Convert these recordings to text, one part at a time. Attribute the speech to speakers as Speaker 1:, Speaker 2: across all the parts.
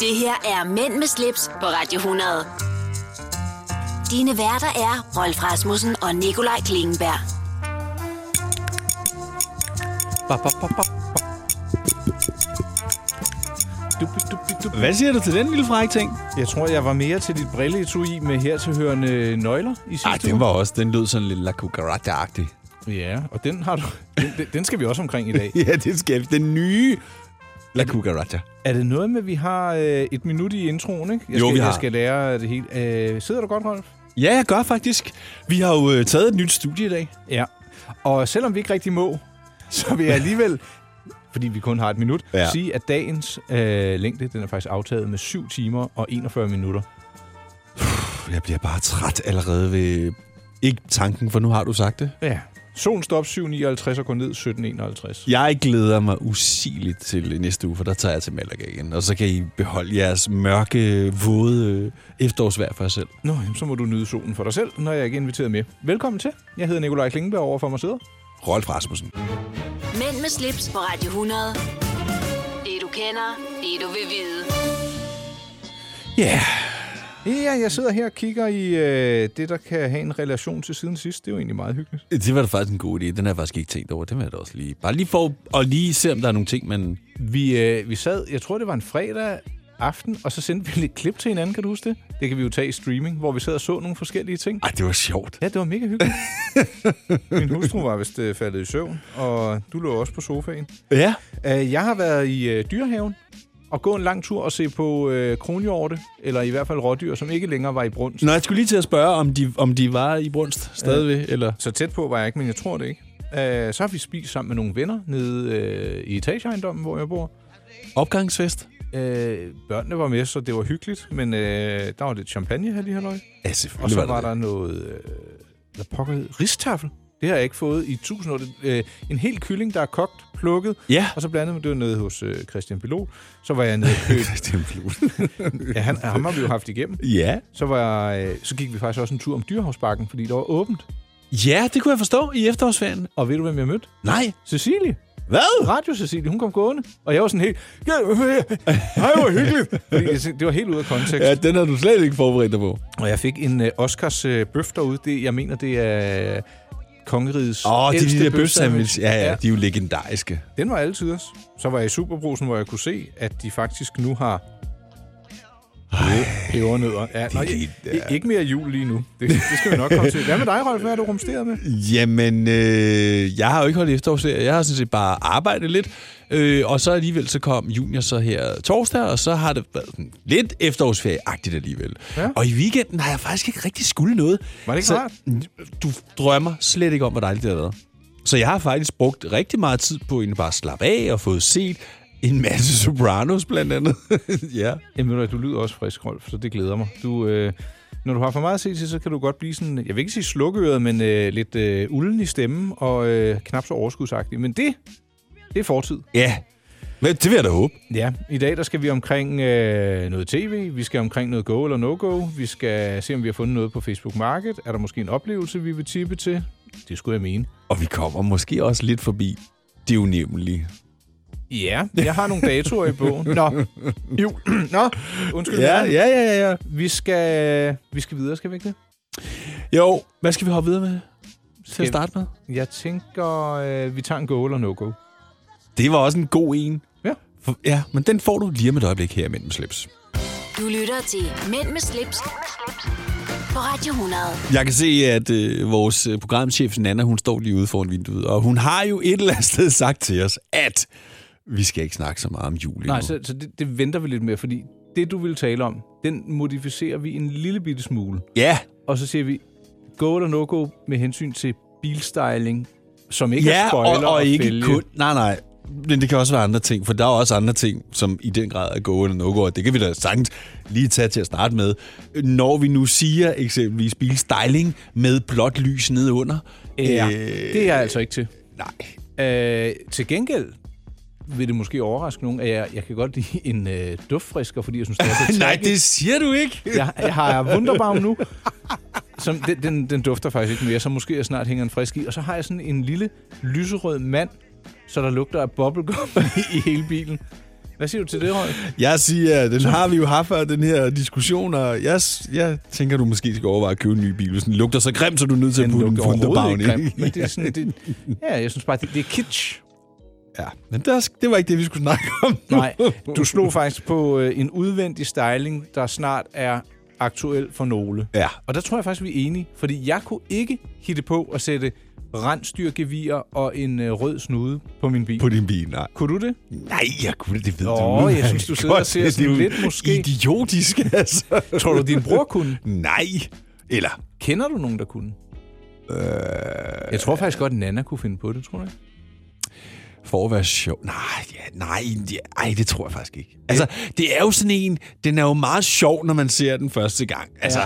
Speaker 1: Det her er Mænd med slips på Radio 100. Dine værter er Rolf Rasmussen og Nikolaj Klingenberg.
Speaker 2: Ba, ba, ba, ba, ba. Dubi, dubi, dubi.
Speaker 3: Hvad siger du til den lille frække ting?
Speaker 2: Jeg tror, jeg var mere til dit brilleetui med hertilhørende nøgler i sidste
Speaker 3: Ej, den var også, den lød sådan lidt la cucaracha-agtig.
Speaker 2: uge. Ja, og den har du... Den, den- den skal vi også omkring i dag.
Speaker 3: Ja, det skal vi. Den nye la cucaracha.
Speaker 2: Er det noget med, at vi har øh, et minut i introen, ikke? Jeg
Speaker 3: Jo,
Speaker 2: skal,
Speaker 3: vi har.
Speaker 2: Jeg skal lære det hele. Øh, sidder du godt, Rolf?
Speaker 3: Ja, jeg gør faktisk. Vi har jo øh, taget et nyt studie i dag.
Speaker 2: Ja. Og selvom vi ikke rigtig må, så vil jeg alligevel, fordi vi kun har et minut,
Speaker 3: Ja.
Speaker 2: ja. sige, at dagens øh, længde, den er faktisk aftaget med 7 timer og 41 minutter.
Speaker 3: Puh, Jeg bliver bare træt allerede ved... Ikke tanken, for nu har du sagt det.
Speaker 2: Ja. Solen står op 7.59 og går ned 17.51.
Speaker 3: Jeg glæder mig usigeligt til øh, næste uge, for der tager jeg til Malaga igen. Og så kan I beholde jeres mørke, våde øh, efterårsvejr for jer selv.
Speaker 2: Nå, jamen, så må du nyde solen for dig selv, når jeg ikke er inviteret med. Velkommen til. Jeg hedder Nikolaj Klingenberg, over for mig sidder.
Speaker 3: Rolf Rasmussen.
Speaker 1: Mænd med slips på Radio 100. Det du kender, det du vil vide.
Speaker 3: Ja, yeah.
Speaker 2: Ja, jeg sidder her og kigger i øh, det, der kan have en relation til siden sidst. Det er jo egentlig meget hyggeligt.
Speaker 3: Det var da faktisk en god idé. Den har jeg faktisk ikke tænkt over. Den vil jeg da også lige... Bare lige for at lige se, om der er nogle ting, man...
Speaker 2: Vi, øh, vi sad, jeg tror det var en fredag aften, og så sendte vi lidt klip til hinanden, kan du huske det? Det kan vi jo tage i streaming, hvor vi sad og så nogle forskellige ting.
Speaker 3: Ej, det var sjovt.
Speaker 2: Ja, det var mega hyggeligt. Min hustru var vist øh, faldet i søvn, og du lå også på sofaen.
Speaker 3: Ja.
Speaker 2: Øh, jeg har været i øh, dyrehaven og gået en lang tur og se på øh, kronhjorte, eller i hvert fald rådyr, som ikke længere var i brunst.
Speaker 3: Nå, jeg skulle lige til at spørge, om de, om de var i brunst stadigvæk, ja. eller...
Speaker 2: Øh, Så tæt på var jeg ikke, men jeg tror det ikke. Øh, så har vi spist sammen med nogle venner nede øh, i etageejendommen, hvor jeg bor.
Speaker 3: Opgangsfest?
Speaker 2: Øh, børnene var med, så det var hyggeligt, men øh, der var lidt champagne her lige halløj.
Speaker 3: Ja,
Speaker 2: Og
Speaker 3: selvfølgelig
Speaker 2: så var der noget, øh, hvad pokker hed, ristaffel. Det har jeg ikke fået i tusind år. Det, øh, en hel kylling, der er kogt, plukket,
Speaker 3: Ja.
Speaker 2: og så blandet med det var nede hos øh, Christian Pilot. Så var jeg nede og købe.
Speaker 3: Christian
Speaker 2: ja, han, ham har vi jo haft igennem.
Speaker 3: ja.
Speaker 2: Så, var jeg, øh, så gik vi faktisk også en tur om Dyrehavsbakken, fordi der var åbent.
Speaker 3: Ja, det kunne jeg forstå i efterårsferien.
Speaker 2: Og ved du, hvem jeg mødte?
Speaker 3: Nej.
Speaker 2: Cecilie.
Speaker 3: Hvad?
Speaker 2: Radio Cecilie, hun kom gående. Og jeg var sådan helt, ja, øh, hej, hvor hyggeligt. Fordi jeg tænkte, det var helt ude af kontekst.
Speaker 3: Ja, den har du slet ikke forberedt dig på.
Speaker 2: Og jeg fik en øh, Oscars øh, bøf derude. Det, jeg mener, det er øh, kongerigets
Speaker 3: Åh, oh, de,
Speaker 2: ældste
Speaker 3: de der
Speaker 2: bøfsandwich.
Speaker 3: bøfsandwich. Ja, ja, de er jo legendariske.
Speaker 2: Den var altid os. Så var jeg i Superbrusen, hvor jeg kunne se, at de faktisk nu har pebernødder. Ja, nej,
Speaker 3: det-
Speaker 2: ja. ikke mere jul lige nu. Det, det skal vi nok komme til. Hvad med dig, Rolf? Hvad er du rumsteret med?
Speaker 3: Jamen, øh, jeg har jo ikke holdt efterårsferie. Jeg har sådan set bare arbejdet lidt. Øh, og så alligevel så kom junior så her torsdag, og så har det været sådan lidt efterårsferieagtigt alligevel. Ja.
Speaker 2: Ja.
Speaker 3: Og i weekenden har jeg faktisk ikke rigtig skulle noget.
Speaker 2: Var det ikke
Speaker 3: så,
Speaker 2: rart?
Speaker 3: Du drømmer slet ikke om, hvor dejligt det har været. Så jeg har faktisk brugt rigtig meget tid på egentlig bare at slappe af og fået set en masse Sopranos blandt andet. ja.
Speaker 2: Jamen, ved du, hvad, du lyder også frisk, Rolf, så det glæder mig. Du, øh, når du har for meget at se til, så kan du godt blive sådan, jeg vil ikke sige slukøret, men øh, lidt øh, ulden i stemmen og øh, knap så overskudsagtig. Men det, det er fortid.
Speaker 3: Ja. Men det vil jeg da håbe.
Speaker 2: Ja, i dag der skal vi omkring øh, noget tv, vi skal omkring noget go eller no-go, vi skal se, om vi har fundet noget på Facebook Market. Er der måske en oplevelse, vi vil tippe til? Det skulle jeg mene.
Speaker 3: Og vi kommer måske også lidt forbi det unævnlige.
Speaker 2: Ja, jeg har nogle datoer i bogen. Nå, jo. Nå, undskyld. Jan.
Speaker 3: ja, ja, ja.
Speaker 2: Vi skal, vi skal videre, skal vi ikke det?
Speaker 3: Jo, hvad skal vi hoppe videre med til
Speaker 2: Skal-
Speaker 3: at starte med?
Speaker 2: Jeg tænker, øh, vi tager en go eller no-go.
Speaker 3: Det var også en god en.
Speaker 2: Ja.
Speaker 3: For, ja, men den får du lige om et øjeblik her i Mænd med slips.
Speaker 1: Du lytter til Mænd med slips, på Radio 100.
Speaker 3: Jeg kan se, at øh, vores øh, programchef Nana, hun står lige ude foran vinduet, og hun har jo et eller andet sted sagt til os, at vi skal ikke snakke så meget om jul
Speaker 2: Nej,
Speaker 3: endnu.
Speaker 2: så, så det, det venter vi lidt med, fordi det, du vil tale om, den modificerer vi en lille bitte smule.
Speaker 3: Ja,
Speaker 2: og så siger vi go eller no-go med hensyn til bilstyling, som ikke er
Speaker 3: ja
Speaker 2: spoiler
Speaker 3: og, og ikke
Speaker 2: fælge.
Speaker 3: kun... Nej, nej. Men det kan også være andre ting, for der er også andre ting, som i den grad er go eller no-go, og det kan vi da sagtens lige tage til at starte med. Når vi nu siger eksempelvis bilstyling med blåt lys nedenunder.
Speaker 2: Ja,
Speaker 3: øh,
Speaker 2: det er jeg altså ikke til.
Speaker 3: Nej.
Speaker 2: Øh, til gengæld vil det måske overraske nogen, at jeg, jeg kan godt lide en øh, duftfrisker, fordi jeg synes, det er så
Speaker 3: Nej,
Speaker 2: tacky.
Speaker 3: det siger du ikke.
Speaker 2: Jeg, jeg har Wunderbaum nu, som den, den, den dufter faktisk ikke mere, så måske jeg snart hænger en frisk i. Og så har jeg sådan en lille lyserød mand, så der lugter af bubblegum i, i hele bilen. Hvad siger du til det, Røg?
Speaker 3: Jeg siger, den har vi jo haft før, den her diskussion, og jeg, jeg tænker, du måske skal overveje at købe en ny bil. Hvis den lugter så grimt, så du er nødt til at putte en
Speaker 2: overhovedet
Speaker 3: funderbavn
Speaker 2: ikke grim, men
Speaker 3: ind.
Speaker 2: det er sådan, det, ja, jeg synes bare, det, det er kitsch.
Speaker 3: Ja, men det, er- det var ikke det, vi skulle snakke om. nu.
Speaker 2: Nej, du slog faktisk på øh, en udvendig styling, der snart er aktuel for nogle.
Speaker 3: Ja.
Speaker 2: Og der tror jeg faktisk, vi er enige, fordi jeg kunne ikke hitte på at sætte rensdyrgevier og en øh, rød snude på min bil.
Speaker 3: På din bil, nej.
Speaker 2: Kunne du det?
Speaker 3: Nej, jeg kunne det, det ved
Speaker 2: Nå,
Speaker 3: du udmærket
Speaker 2: jeg synes, du sidder og
Speaker 3: godt.
Speaker 2: ser
Speaker 3: Det er
Speaker 2: sådan
Speaker 3: jo
Speaker 2: lidt måske.
Speaker 3: Idiotisk, altså.
Speaker 2: Tror du, din bror kunne?
Speaker 3: Nej. Eller,
Speaker 2: Kender du nogen, der kunne? Øh... Jeg tror faktisk godt, Nana kunne finde på det, tror du ikke?
Speaker 3: for at være sjov. Nej, ja, nej, ja, ej, det tror jeg faktisk ikke. Altså, det er jo sådan en, den er jo meget sjov, når man ser den første gang. Altså,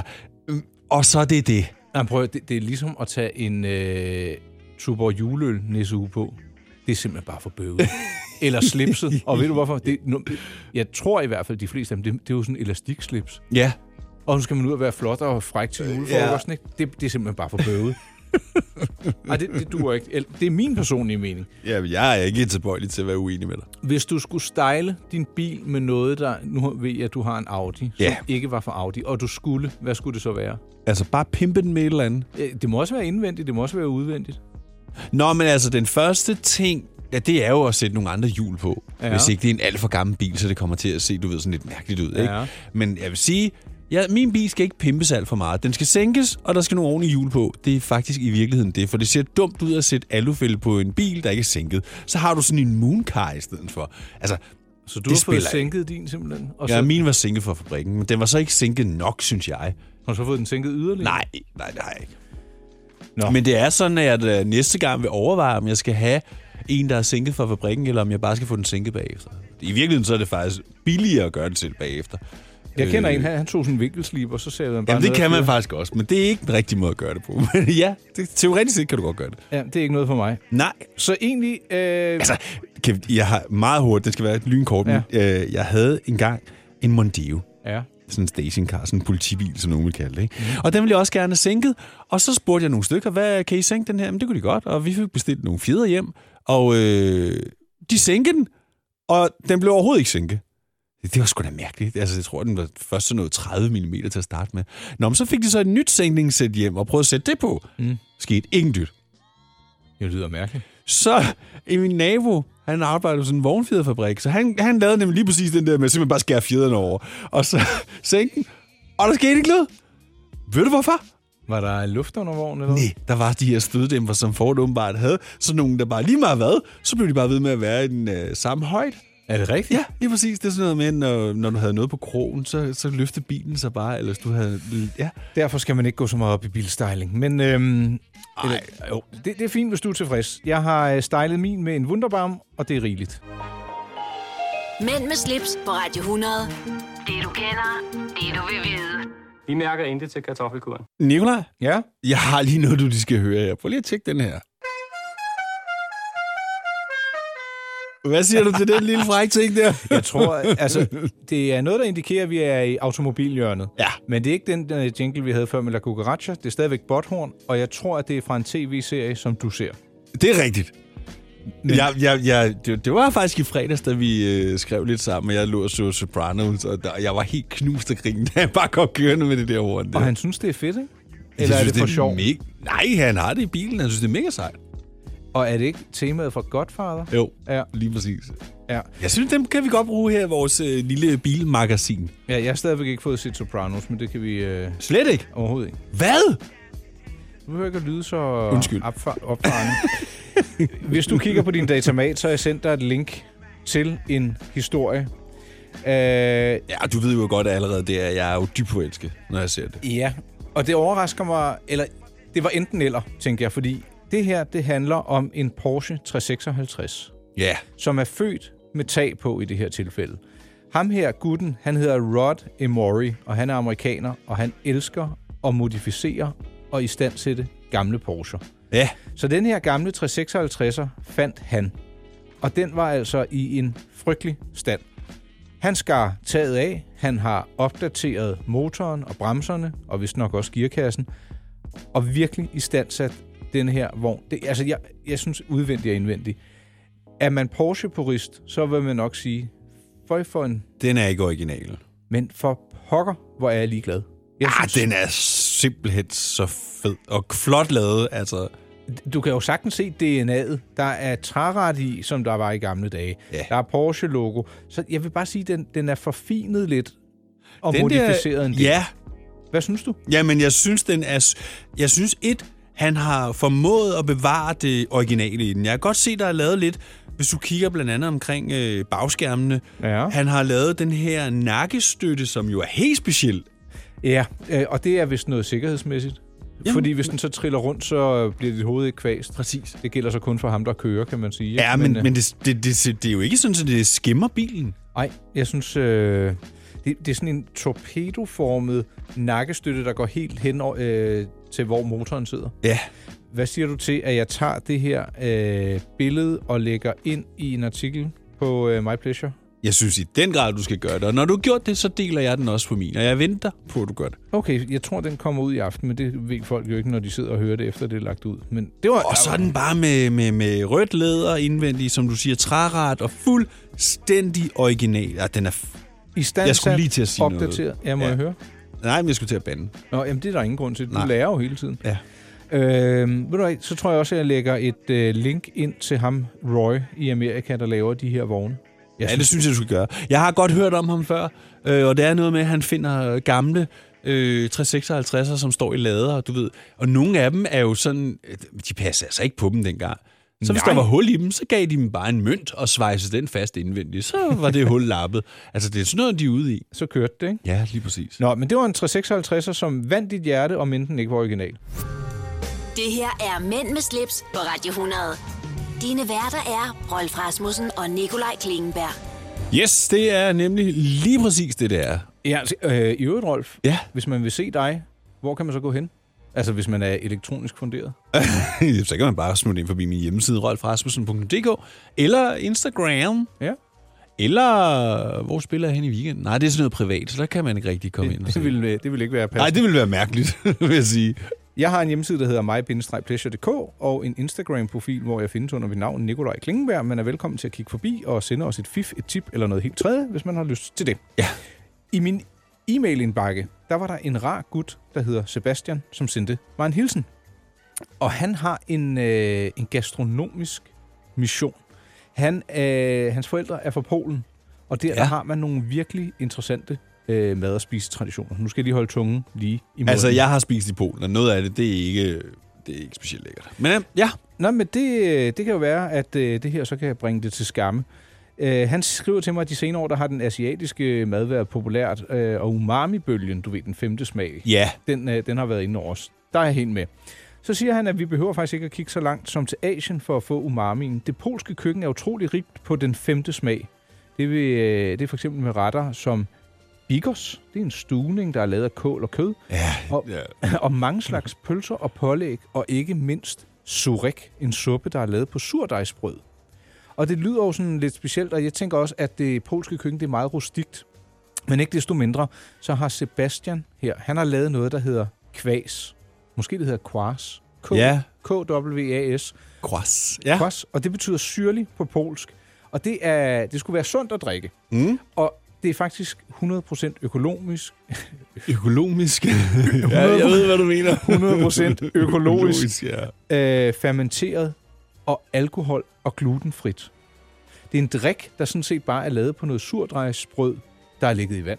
Speaker 3: ja. og så er det det.
Speaker 2: Nej, men prøv, at- det, det er ligesom at tage en øh, Tuborg juleøl næste uge på. Det er simpelthen bare for bøvet. Eller slipset. Og ved du hvorfor? Det, nu, jeg tror i hvert fald, de fleste af dem, det, det er jo sådan en elastikslips.
Speaker 3: Ja.
Speaker 2: Og nu skal man ud og være flot og fræk til julefrokosten, ikke? Det, det er simpelthen bare for bøvet. Nej, det, det duer ikke. Eller, Det er min personlige mening.
Speaker 3: ja jeg er ikke tilbøjelig til at være uenig med dig.
Speaker 2: Hvis du skulle style din bil med noget, der... Nu ved jeg, at du har en Audi, som
Speaker 3: Ja.
Speaker 2: ikke var fra Audi, og du skulle... Hvad skulle det så være?
Speaker 3: Altså, bare pimpe den med et eller andet.
Speaker 2: Øh, Det må også være indvendigt, det må også være udvendigt.
Speaker 3: Nå, men altså, den første ting, ja, det er jo at sætte nogle andre hjul på.
Speaker 2: Ja.
Speaker 3: Ja. Hvis ikke det er en alt for gammel bil, så det kommer til at se, du ved, sådan lidt mærkeligt ud, ikke?
Speaker 2: Ja.
Speaker 3: Men jeg vil sige, ja, min bil skal ikke pimpes alt for meget. Den skal sænkes, og der skal nogle ordentlige hjul på. Det er faktisk i virkeligheden det, for det ser dumt ud at sætte alufælde på en bil, der ikke er sænket. Så har du sådan en mooncar i stedet for. Altså,
Speaker 2: Så du
Speaker 3: Det
Speaker 2: har fået
Speaker 3: spiller ikke.
Speaker 2: sænket din simpelthen, og,
Speaker 3: ja,
Speaker 2: så,
Speaker 3: min var sænket fra fabrikken, men den var så ikke sænket nok, synes jeg.
Speaker 2: og så fået den sænket yderligere?
Speaker 3: Nej, nej, det har jeg ikke.
Speaker 2: Nå.
Speaker 3: Nå. Men det er sådan, at jeg øh, næste gang vil overveje, om jeg skal have en, der er sænket fra fabrikken, eller om jeg bare skal få den sænket bagefter. I virkeligheden så er det faktisk billigere at gøre det selv bagefter.
Speaker 2: Jeg kender
Speaker 3: Øh,
Speaker 2: en her, han tog sådan en vinkelsliber, og så sagde han bare
Speaker 3: Jamen, det
Speaker 2: noget
Speaker 3: kan man
Speaker 2: for-
Speaker 3: faktisk også, men det er ikke den rigtige måde at gøre det på. Men ja, det, teoretisk set kan du godt gøre det.
Speaker 2: Ja, det er ikke noget for mig.
Speaker 3: Nej.
Speaker 2: Så egentlig... Øh,
Speaker 3: Altså, kan, jeg har meget hurtigt, det skal være lynkort, ja. men øh, jeg havde engang en Mondeo.
Speaker 2: ja.
Speaker 3: sådan en stationcar, sådan en politibil, som nogen vil kalde det. Ikke? Mm. Og den ville jeg også gerne have sænket. Og så spurgte jeg nogle stykker, hvad kan I sænke den her? Men det kunne de godt, og vi fik bestilt nogle fjeder hjem. Og øh, de sænkede den, og den blev overhovedet ikke sænket. Det det var sgu da mærkeligt. Altså, jeg tror, den var først sådan noget 30 mm til at starte med. Nå, men så fik de så et nyt sænkningssæt hjem og prøvede at sætte det på.
Speaker 2: Mm.
Speaker 3: Skete ingen dyt.
Speaker 2: Det lyder mærkeligt.
Speaker 3: Så i min nabo, han arbejder på sådan en vognfjederfabrik, så han, han lavede nemlig lige præcis den der med simpelthen bare skære fjederne over, og så sænke den, og der skete ikke noget. Ved du hvorfor?
Speaker 2: Var der luft under vognen eller
Speaker 3: Nej, der var de her støddæmper, som Ford åbenbart havde, så nogen, der bare lige meget hvad, så blev de bare ved med at være i den øh, samme højde.
Speaker 2: Er det rigtigt?
Speaker 3: Ja, lige præcis. Det er sådan noget med, når, når du havde noget på krogen, så, så løftede bilen sig bare, eller du havde... Ja.
Speaker 2: Derfor skal man ikke gå så meget op i bilstyling. Men øhm, eller, jo, det, det er fint, hvis du er tilfreds. Jeg har øh, stylet min med en Wunderbaum, og det er rigeligt.
Speaker 1: Mænd med slips på Radio 100. Det du kender, det du vil vide.
Speaker 4: Vi mærker intet til kartoffelkuren.
Speaker 3: Nikolaj,
Speaker 2: Ja?
Speaker 3: jeg har lige noget, du lige skal høre her. Prøv lige at tjekke den her. Hvad siger du til den lille fræk ting der?
Speaker 2: Jeg tror, altså, det er noget, der indikerer, at vi er i automobilhjørnet.
Speaker 3: Ja.
Speaker 2: Men det er ikke den øh, jingle, vi havde før med La Cucaracha. Det er stadigvæk Botthorn, og jeg tror, at det er fra en tv-serie, som du ser.
Speaker 3: Det er rigtigt. Men... Jeg, jeg, jeg, det, det var faktisk i fredags, da vi øh, skrev lidt sammen, og jeg lå og så Sopranos, og der, jeg var helt knust af grin, da jeg bare kom kørende med det der horn der.
Speaker 2: Og han synes, det er fedt, ikke?
Speaker 3: Jeg
Speaker 2: Eller er
Speaker 3: synes,
Speaker 2: det for sjov?
Speaker 3: Mega... Nej, han har det i bilen. Han synes, det er mega sejt.
Speaker 2: Og er det ikke temaet fra Godfather?
Speaker 3: Jo,
Speaker 2: Ja.
Speaker 3: lige præcis.
Speaker 2: Ja.
Speaker 3: Jeg synes, dem kan vi godt bruge her i vores øh, lille bilmagasin.
Speaker 2: ja, jeg har stadigvæk ikke fået set Sopranos, men det kan vi øh,
Speaker 3: Slet ikke.
Speaker 2: overhovedet ikke.
Speaker 3: Hvad?
Speaker 2: Du behøver ikke at lyde så
Speaker 3: Undskyld.
Speaker 2: opfar- opfarende. Hvis du kigger på din datamat, så har jeg sendt dig et link til en historie. Øh,
Speaker 3: Ja, du ved jo godt allerede, det er, jeg er jo dybt forelsket, når jeg ser det.
Speaker 2: Ja, og det overrasker mig, eller det var enten eller, tænker jeg, fordi det her, det handler om en Porsche 356,
Speaker 3: Ja.
Speaker 2: som er født med tag på i det her tilfælde. Ham her, gutten, han hedder Rod Emory, og han er amerikaner, og han elsker at modificere og istandsætte gamle Porsche.
Speaker 3: Ja.
Speaker 2: Så den her gamle 356'er fandt han. Og den var altså i en frygtelig stand. Han skar taget af, han har opdateret motoren og bremserne, og vist nok også gearkassen, og virkelig i stand sat den her vogn. Det, altså, jeg, jeg synes udvendigt og indvendigt. Er man Porsche-purist, så vil man nok sige, Føj for en...
Speaker 3: Den er ikke original.
Speaker 2: Men for pokker, hvor er jeg ligeglad. Jeg
Speaker 3: Ah, den er simpelthen så fed og flot lavet. Altså,
Speaker 2: Du kan jo sagtens se DNA'et. Der er træret i, som der var i gamle dage.
Speaker 3: Ja.
Speaker 2: Der er Porsche-logo. Så jeg vil bare sige, at den, den er forfinet lidt og
Speaker 3: den
Speaker 2: den modificeret en del.
Speaker 3: Ja,
Speaker 2: Hvad synes du?
Speaker 3: ja, men jeg synes, den er... s- Jeg synes, et, han har formået at bevare det originale i den. Jeg kan godt se, der er lavet lidt... Hvis du kigger blandt andet omkring øh, bagskærmene,
Speaker 2: Ja.
Speaker 3: han har lavet den her nakkestøtte, som jo er helt speciel.
Speaker 2: Ja, øh, og det er vist noget sikkerhedsmæssigt. Jamen, Fordi hvis den så triller rundt, så bliver dit hoved ikke kvæst. Præcis. Det gælder så kun for ham, der kører, kan man sige.
Speaker 3: Ja, men,
Speaker 2: øh,
Speaker 3: men, men det, det, det, det er jo ikke sådan, at det skimmer bilen.
Speaker 2: Nej, jeg synes, øh, det, det er sådan en torpedoformet nakkestøtte, der går helt hen over, øh, til, hvor motoren sidder.
Speaker 3: Ja.
Speaker 2: Hvad siger du til, at jeg tager det her øh, billede og lægger ind i en artikel på øh, My Pleasure?
Speaker 3: Jeg synes i den grad, du skal gøre det. Og når du har gjort det, så deler jeg den også på min. Og jeg venter på, at du gør det.
Speaker 2: Okay, jeg tror, den kommer ud i aften, men det ved folk jo ikke, når de sidder og hører det, efter det er lagt ud. Men det var...
Speaker 3: Og så er den bare med, med, med rødt læder indvendig, som du siger, træret og fuldstændig original. Ja, den er... F-
Speaker 2: I stand
Speaker 3: Jeg skulle lige til at sige noget.
Speaker 2: opdateret. Ja, må
Speaker 3: Ja.
Speaker 2: ja. jeg høre?
Speaker 3: Nej, men jeg skulle til at bande.
Speaker 2: Nå, jamen det er der ingen grund til. Du
Speaker 3: Nej.
Speaker 2: Nej. lærer jo hele tiden.
Speaker 3: Ja.
Speaker 2: Øhm, ved du hvad, så tror jeg også, at jeg lægger et øh, link ind til ham, Roy, i Amerika, der laver de her vogne. Jeg
Speaker 3: Ja, det synes jeg, du skal gøre. Jeg har godt hørt om ham før, øh, og det er noget med, at han finder gamle øh, 356'er, som står i lader, du ved. Og nogle af dem er jo sådan... øh, De passer altså ikke på dem dengang. Så hvis
Speaker 2: Nej.
Speaker 3: der var hul i dem, så gav de dem bare en mønt og svejsede den fast indvendigt. Så var det hul lappet. Altså, det er sådan noget, de er ude i.
Speaker 2: Så kørte det, ikke?
Speaker 3: Ja, lige præcis.
Speaker 2: Nå, men det var en 356'er, som vandt dit hjerte, om end den ikke var original.
Speaker 1: Det her er Mænd med slips på Radio 100. Dine værter er Rolf Rasmussen og Nikolaj Klingenberg.
Speaker 3: Yes, det er nemlig lige præcis det, det er.
Speaker 2: Ja, altså, øh, i øvrigt, Rolf,
Speaker 3: Ja.
Speaker 2: hvis man vil se dig, hvor kan man så gå hen? Altså, hvis man er elektronisk funderet.
Speaker 3: så kan man bare smutte ind forbi min hjemmeside, rolfrasmussen.dk, eller Instagram,
Speaker 2: Ja,
Speaker 3: eller øh, hvor spiller jeg hen i weekenden? Nej, det er sådan noget privat, så der kan man ikke rigtig komme ind og
Speaker 2: det,
Speaker 3: se.
Speaker 2: det, vil, det vil ikke være
Speaker 3: Nej,
Speaker 2: passende.
Speaker 3: det ville være mærkeligt, vil jeg sige.
Speaker 2: Jeg har en hjemmeside, der hedder mig-pleasure.dk og en Instagram-profil, hvor jeg findes under mit navn Nikolaj Klingenberg. Man er velkommen til at kigge forbi og sende os et fif, et tip eller noget helt tredje, hvis man har lyst til det.
Speaker 3: Ja.
Speaker 2: I min e-mailindbakke, der var der en rar gut, der hedder Sebastian, som sendte mig en hilsen. Og han har en, øh, en gastronomisk mission. Han, øh, hans forældre er fra Polen, og der,
Speaker 3: Ja.
Speaker 2: ja. der har man nogle virkelig interessante øh, mad- og spisetraditioner. Nu skal jeg lige holde tungen lige i munden.
Speaker 3: Altså, jeg har spist i Polen, og noget af det, det er ikke, det er ikke specielt lækkert. Men øhm, ja,
Speaker 2: Nå, men det, det kan jo være, at øh, det her så kan bringe det til skamme. Øh, han skriver til mig, at de senere år, der har den asiatiske mad været populært, øh, og umami-bølgen, du ved, den femte smag,
Speaker 3: ja,
Speaker 2: den, øh, den har været inde over os. Der er jeg helt med. Så siger han, at vi behøver faktisk ikke at kigge så langt som til Asien for at få umamien. Det polske køkken er utrolig rigt på den femte smag. Det, vil, øh, det er for eksempel med retter som bikos, det er en stuvning, der er lavet af kål og kød,
Speaker 3: ja,
Speaker 2: Og-
Speaker 3: ja.
Speaker 2: og mange slags pølser og pålæg, og ikke mindst surek, en suppe, der er lavet på surdejsbrød. Og det lyder jo sådan lidt specielt, og jeg tænker også, at det polske køkken det er meget rustikt. Men ikke desto mindre, så har Sebastian her, han har lavet noget, der hedder kvas. Måske det hedder kvars. K-
Speaker 3: Ja.
Speaker 2: K-W-A-S.
Speaker 3: Kras. Ja.
Speaker 2: Kvas, og det betyder syrlig på polsk. Og det, er, det skulle være sundt at drikke.
Speaker 3: Mm.
Speaker 2: Og det er faktisk 100% økonomisk,
Speaker 3: Økonomisk. ja, jeg ved, hvad du mener.
Speaker 2: 100% økologisk.
Speaker 3: ja.
Speaker 2: øh, fermenteret og alkohol og glutenfrit. Det er en drik, der sådan set bare er lavet på noget surdejsbrød, der er ligget i vand.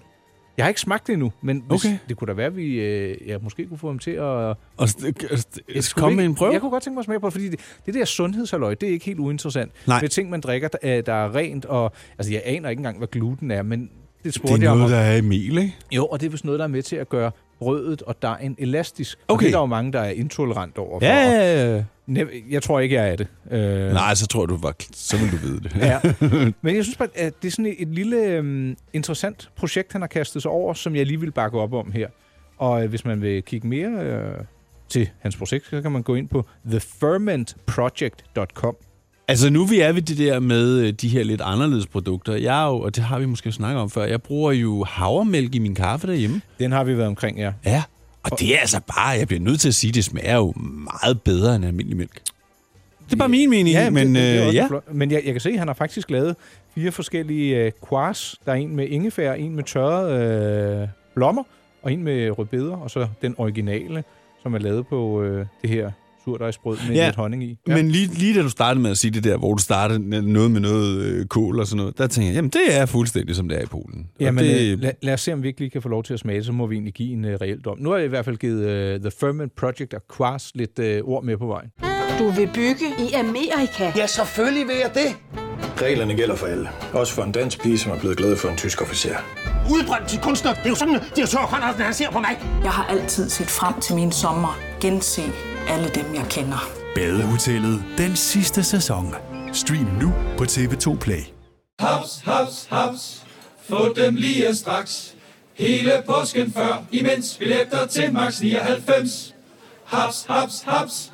Speaker 2: Jeg har ikke smagt det endnu, men hvis,
Speaker 3: Okay.
Speaker 2: okay. det kunne da være, at vi øh, ja, måske kunne få ham til at...
Speaker 3: Og st- st-
Speaker 2: Jeg
Speaker 3: st-
Speaker 2: skulle
Speaker 3: kom med
Speaker 2: ikke-
Speaker 3: en prøve.
Speaker 2: Jeg kunne godt tænke mig at smage på det, fordi det, det der sundhedshalløj, det er ikke helt uinteressant.
Speaker 3: Nej.
Speaker 2: Med ting, man drikker, der, øh, der er rent, og... Altså, jeg aner ikke engang, hvad gluten er, men det spurgte
Speaker 3: Det
Speaker 2: jeg
Speaker 3: er
Speaker 2: om.
Speaker 3: noget, der er i mel, ikke?
Speaker 2: Jo, og det er vist noget, der er med til at gøre brødet og dejen elastisk. Og
Speaker 3: Okay.
Speaker 2: det er der jo mange, der er intolerant over. for, og-
Speaker 3: ja, ja.
Speaker 2: Ne- Jeg tror ikke, jeg er det. Øh,
Speaker 3: Nej, så tror jeg, du var... Så vil du vide det.
Speaker 2: Ja. Men jeg synes bare, at det er sådan et, et lille øhm, interessant projekt, han har kastet sig over, som jeg lige vil bakke op om her. Og øh, hvis man vil kigge mere øh, til hans projekt, så kan man gå ind på thefermentproject.com.
Speaker 3: Altså nu vi er ved det der med øh, de her lidt anderledes produkter. Jeg er jo, og det har vi måske snakket om før, jeg bruger jo havremælk i min kaffe derhjemme.
Speaker 2: Den har vi været omkring, ja.
Speaker 3: Ja. Og det er altså bare, jeg bliver nødt til at sige, det smager jo meget bedre end almindelig mælk. Det er bare min mening,
Speaker 2: Ja, men,
Speaker 3: men
Speaker 2: det, det er
Speaker 3: øh,
Speaker 2: også
Speaker 3: ja.
Speaker 2: flot. men jeg, jeg kan se, at han har faktisk lavet fire forskellige øh, quars. Der er en med ingefær, en med tørrede øh, blommer, og en med rødbeder, og så den originale, som er lavet på øh, det her surdejsbrød med
Speaker 3: Ja,
Speaker 2: ja. lidt honning i.
Speaker 3: Ja. Men lige, lige da du startede med at sige det der, hvor du startede noget med noget øh, kål og sådan noget, der tænkte jeg, jamen det er fuldstændig som det er i Polen. Og
Speaker 2: Jamen,
Speaker 3: det,
Speaker 2: det... øh, lad, lad os se, om vi ikke lige kan få lov til at smage, så må vi egentlig give en uh, reel dom. Nu har jeg i hvert fald givet uh, The Ferment Project og Quars lidt uh, ord med på vejen.
Speaker 5: Du vil bygge i Amerika?
Speaker 6: Ja, selvfølgelig vil jeg det.
Speaker 7: Reglerne gælder for alle. Også for en dansk pige, som er blevet glad for en tysk officer.
Speaker 6: Udbrændt til kunstner. Det er jo sådan, at direktør Conradsen, han ser på mig.
Speaker 8: Jeg har altid set frem til min sommer. Gense alle dem, jeg kender.
Speaker 9: Badehotellet den sidste sæson. Stream nu på TV2 Play.
Speaker 10: Haps, haps, haps. Få dem lige straks. Hele påsken før, imens billetter til max 99. Haps, haps, haps.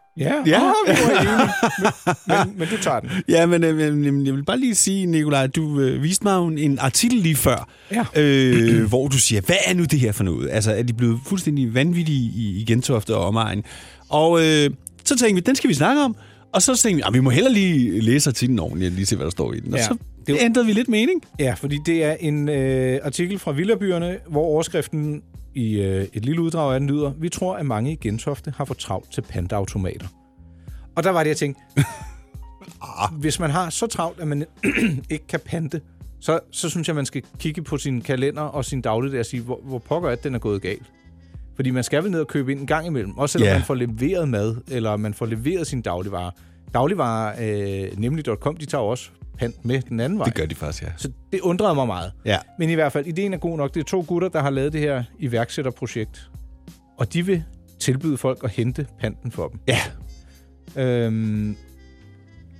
Speaker 2: Ja,
Speaker 3: Ja.
Speaker 2: Ah, vi var enige. Men, men, men du tager den.
Speaker 3: Ja, men øh, men, øh, jeg vil bare lige sige, Nikolaj, du øh, viste mig jo en- en artikel lige før,
Speaker 2: Ja.
Speaker 3: øh, hvor du siger, hvad er nu det her for noget? Altså, er de blevet fuldstændig vanvittige i, i Gentofte og omegn? Og øh, så tænkte vi, den skal vi snakke om. Og så tænkte vi, "Ah, vi må hellere lige læse artiklen ordentligt, og lige se, hvad der står i den. Og
Speaker 2: Ja.
Speaker 3: så
Speaker 2: Det
Speaker 3: det
Speaker 2: var-
Speaker 3: ændrede vi lidt mening.
Speaker 2: Ja, fordi det er en øh, artikel fra Villabyerne, hvor overskriften i øh, et lille uddrag af den lyder, vi tror, at mange i Gentofte har for travlt til pandaautomater. Og der var det, jeg tænkte, "Ah, hvis man har så travlt, at man ikke kan pante, så, så synes jeg, man skal kigge på sin kalender og sin dagligdag og sige, hvor, hvor pokker er det, den er gået galt. Fordi man skal vel ned og købe ind en gang imellem, også selvom
Speaker 3: Ja.
Speaker 2: yeah. man får leveret mad, eller man får leveret sin dagligvarer. Dagligvarer, øh, nemlig.com, de tager jo også pant med den anden vej.
Speaker 3: Det gør de faktisk, ja.
Speaker 2: Så det undrede mig meget.
Speaker 3: Ja.
Speaker 2: Men i hvert fald, ideen er god nok. Det er to gutter, der har lavet det her iværksætterprojekt. Og de vil tilbyde folk at hente panten for dem.
Speaker 3: Ja,
Speaker 2: Øhm,